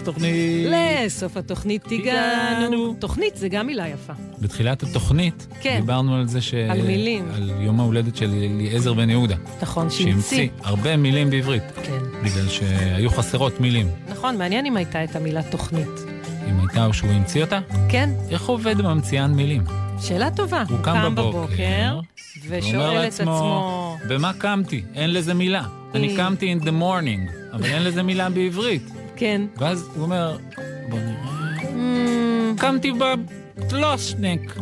S1: התוכנית.
S2: לסוף התוכנית הגענו. תוכנית זה גם מילה יפה.
S1: בתחילת התוכנית,
S2: כן.
S1: דיברנו על זה ש...
S2: על מילים.
S1: על יום ההולדת של אליעזר בן יהודה.
S2: נכון,
S1: שהמציא
S2: שהמציא.
S1: הרבה מילים בעברית.
S2: כן.
S1: בגלל שהיו חסרות מילים.
S2: נכון, מעניין אם הייתה את המילה תוכנית.
S1: אם הייתה או שהוא המציא אותה?
S2: כן.
S1: איך עובד ממציאן מילים?
S2: שאלה טובה. הוא
S1: קם בבוקר,
S2: ושואל את עצמו...
S1: במה קמתי? אין לזה מילה. אני קמתי in the morning, אבל אין לזה מילה בעברית.
S2: כן.
S1: ואז הוא אומר, בוא נראה. קמתי ב... פלושנק.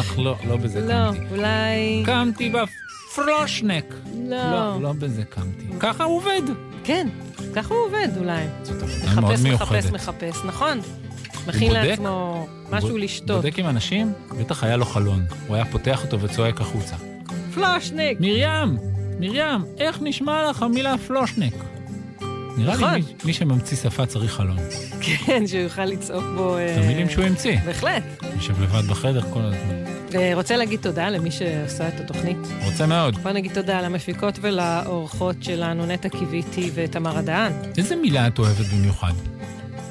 S1: אך, לא, לא בזה
S2: לא,
S1: קמתי.
S2: אולי...
S1: קמתי בפרושנק. לא,
S2: לא.
S1: לא בזה קמתי. ככה הוא עובד.
S2: כן, ככה הוא עובד אולי.
S1: מאוד
S2: מחפש, מחפש,
S1: מיוחדת.
S2: מחפש, נכון. מכין
S1: בודק?
S2: לעצמו
S1: הוא
S2: משהו
S1: ב-
S2: לשתות.
S1: בודק עם אנשים, בטח היה לו חלון. הוא היה פותח אותו וצועק החוצה.
S2: פלושניק!
S1: מרים! מרים, איך נשמע לך המילה פלושניק? נראה
S2: נכון.
S1: לי מי- מי שממציא שפה צריך חלון.
S2: כן, שהוא יוכל לצעוק בו... אה,
S1: את המילים שהוא המציא.
S2: בהחלט.
S1: יושב לבד בחדר כל הזמן.
S2: אה, רוצה להגיד תודה למי שעשה את התוכנית.
S1: רוצה מאוד.
S2: בוא נגיד תודה למפיקות ולאורחות שלנו, נטע קיוויתי ותמרה דהן.
S1: איזה מילה את אוהבת במיוחד?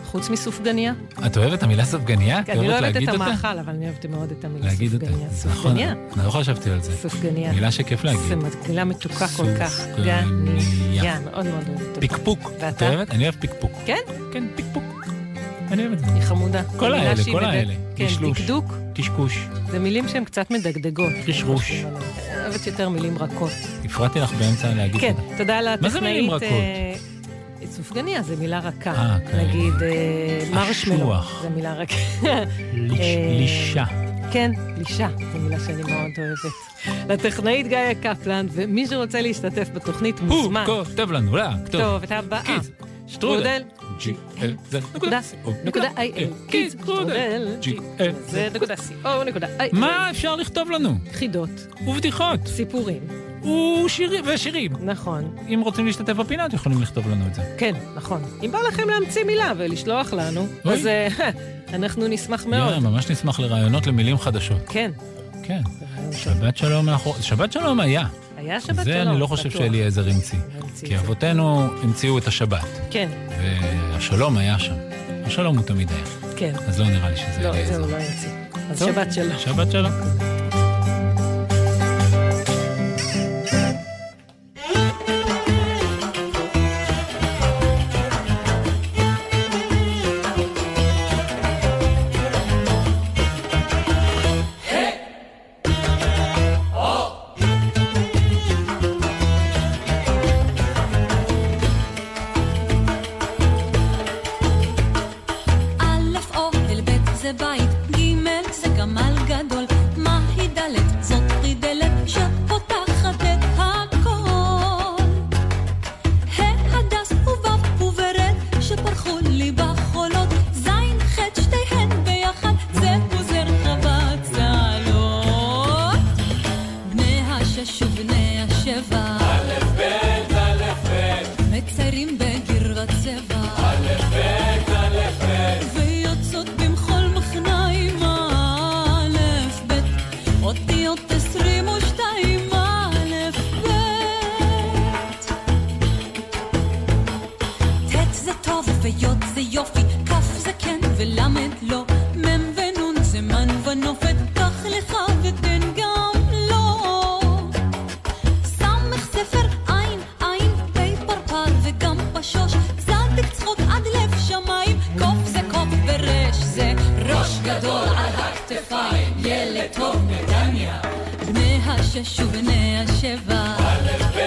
S2: חוץ מסופגניה.
S1: את אוהבת את המילה סופגניה?
S2: אני לא אוהבת את
S1: להגיד אותה?
S2: המאכל, אבל אני אוהבת מאוד את המילה
S1: להגיד אותה.
S2: סופגניה.
S1: נכון,
S2: סופגניה.
S1: לא חשבתי על זה.
S2: סופגניה.
S1: מילה שכיף
S2: זה
S1: להגיד.
S2: מילה מתוקה כל כך.
S1: סופגניה.
S2: גניה. מאוד מאוד אוהבת אותה.
S1: פיקפוק. את
S2: ואתה?
S1: אוהבת? אני אוהב פיקפוק.
S2: כן?
S1: כן, פיקפוק. אני אוהבת את זה.
S2: היא חמודה.
S1: כל
S2: זו מילה
S1: האלה,
S2: שהיא
S1: כל
S2: מדג-
S1: האלה.
S2: כן,
S1: קשלוש.
S2: דקדוק,
S1: קשקוש.
S2: זה מילים שהן קצת מדגדגות.
S1: קשרוש.
S2: אני אוהבת יותר מילים רכות.
S1: הפרעתי לך באמצע להגיד
S2: כן,
S1: תודה.
S2: תודה לטכנאית.
S1: מה זה מילים רכות?
S2: אה, סופגניה זה מילה רכה.
S1: אה, כן.
S2: נגיד אה, מרשמלו.
S1: אשוח.
S2: זה מילה רכה.
S1: ליש-
S2: אה,
S1: לישה.
S2: כן, לישה, זו מילה שאני מאוד אוהבת. לטכנאית גיא קפלן, ומי שרוצה להשתתף בתוכנית
S1: הוא
S2: מוזמן.
S1: כותב לנו לא?
S2: טוב,
S1: לכתוב.
S2: את הבאה. אה,
S1: קיז,
S2: שטרודל.
S1: אה,
S2: נקודה.
S1: אוקיי.
S2: נקודה איי-איי.
S1: קיז,
S2: שטרודל.
S1: אה,
S2: זה נקודה co נקודה איי-איי.
S1: אוקיי. מה אפשר לכתוב לנו?
S2: חידות.
S1: ובדיחות.
S2: סיפורים.
S1: ושירים. ושירים.
S2: נכון.
S1: אם רוצים להשתתף בפינה, אתם יכולים לכתוב לנו את זה.
S2: כן, נכון. אם בא לכם להמציא מילה ולשלוח לנו,
S1: אוי.
S2: אז אה, אנחנו נשמח מאוד.
S1: יאללה, ממש נשמח לרעיונות למילים חדשות.
S2: כן.
S1: כן. שבת שלום מאחור... שבת שלום היה.
S2: היה שבת שלום.
S1: זה אני לא חושב
S2: בטוח.
S1: שאליעזר המציא. כי אבותינו המציאו את השבת,
S2: כן,
S1: והשלום היה שם. השלום הוא תמיד היה.
S2: כן.
S1: אז לא נראה לי שזה
S2: לא,
S1: אליעזר.
S2: זה הוא לא המציא. אז
S1: טוב.
S2: שבת שלום.
S1: שבת שלום.
S18: א' אוהל, ב' זה בית, ג' זה גמל גדול, מהי ד' זאת רידלת שפותחת את הכל. ה' הדס וו' ובר' שפרחו לי בחולות, ז' ח' שתיהן ביחד, זה פוזר חוות צהלות. בני השש ובני השבע, א' ב' א' ב' מציירים בגרבת צבע, א' ב' א' ב' ויוצאות במחול מחניים, א' ב' אותיות עשרים ושתיים, א' ב' ט' זה טוב ויוד זה יופי, כ' זה כן ולמד לא, מ' ונון זה מן ונופת, קח לך ותן גם לו. סמך ספר עין עין, פי פרפר וגם פשוש, צדיק צחוק עד לב שמיים, קוף זה קוף ורש זה ראש גדול על הכתפיים, ילד טוב נתניה. בני השש ובני השבע, א' ב'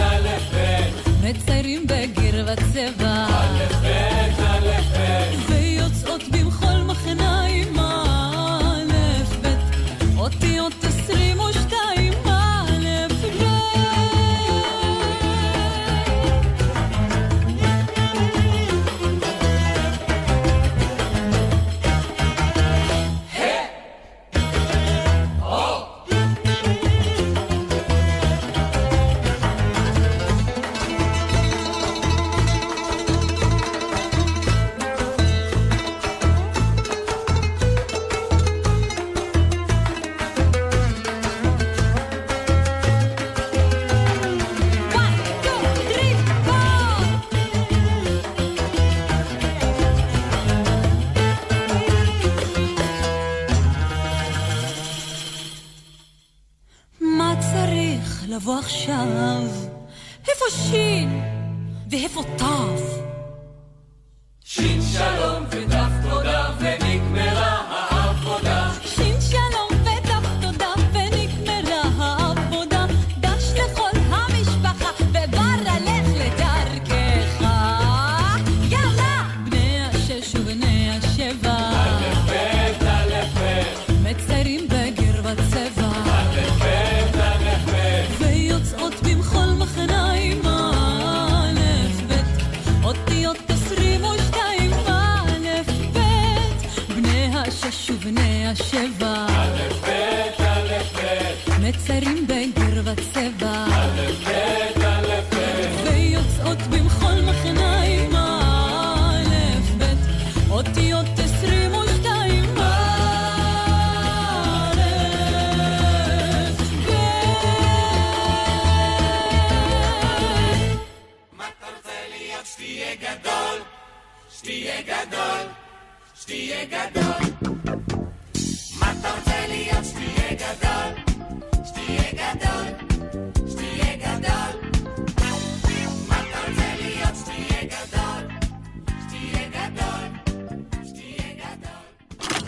S18: א' ב' מציירים בגרבת צבע. א' ב' א' ב' ויוצאות במחול מחניים א' ב' אותיות עשרים ושתיים א' ב' לבוא עכשיו. איפה שין? ואיפה תף?
S15: שין שלום ודף תודה ונגמרה העבודה.
S18: שין שלום ודף תודה ונגמרה העבודה. דש לכל המשפחה וברא לך לדרכך. יאללה! בני השש ובני השבע. מציירים בגר וצבע. ויוצאות במחול מחניים א' ב' אותיות עשרים ושתיים א' ב' בני השש ובני השבע מציירים בגר וצבע ויוצאות במחול מחניים א' ב' אותיות עשרים ושתיים א'
S15: שתהיה גדול, שתהיה גדול, שתהיה גדול. מה אתה רוצה להיות שתהיה גדול? שתהיה גדול, שתהיה גדול. מה אתה רוצה להיות שתהיה גדול? שתהיה גדול, שתהיה גדול.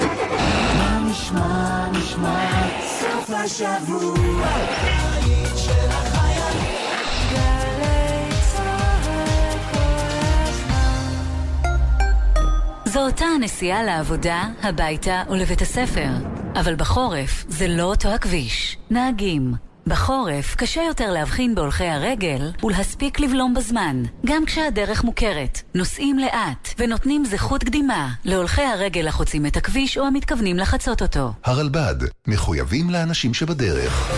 S15: מה נשמע, נשמע, סוף השבוע. של החיילים. גלי צהל כל
S19: זו אותה הנסיעה לעבודה, הביתה ולבית הספר. אבל בחורף זה לא אותו הכביש. נהגים. בחורף קשה יותר להבחין בהולכי הרגל ולהספיק לבלום בזמן, גם כשהדרך מוכרת. נוסעים לאט ונותנים זכות קדימה להולכי הרגל החוצים את הכביש או המתכוונים לחצות אותו.
S20: הרלב"ד, מחויבים לאנשים שבדרך.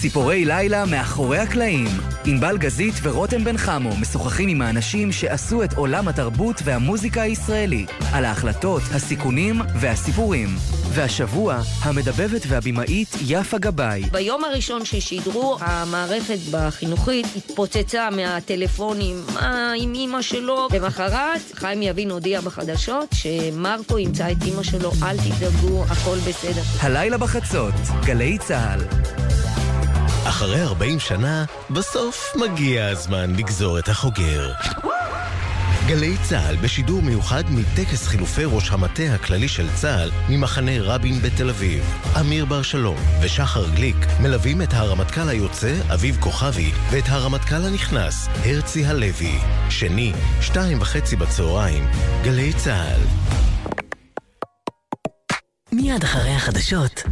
S21: ציפורי לילה מאחורי הקלעים. ענבל גזית ורותם בן חמו משוחחים עם האנשים שעשו את עולם התרבות והמוזיקה הישראלי, על ההחלטות, הסיכונים והסיפורים. והשבוע, המדבבת והבימאית יפה גבאי.
S22: ביום הראשון ששידרו, המערכת בחינוכית התפוצצה מהטלפונים, מה עם אימא שלו? למחרת, חיים יבין הודיע בחדשות שמרקו ימצא את אימא שלו, אל תדאגו, הכל בסדר.
S21: הלילה בחצות, גלי צה"ל.
S23: אחרי 40 שנה, בסוף מגיע הזמן לגזור את החוגר. גלי צה"ל בשידור מיוחד מטקס חילופי ראש המטה הכללי של צה"ל ממחנה רבין בתל אביב. אמיר בר שלום ושחר גליק מלווים את הרמטכ"ל היוצא אביב כוכבי ואת הרמטכ"ל הנכנס הרצי הלוי. שני, שתיים וחצי בצהריים, גלי צה"ל.
S24: מיד אחרי החדשות,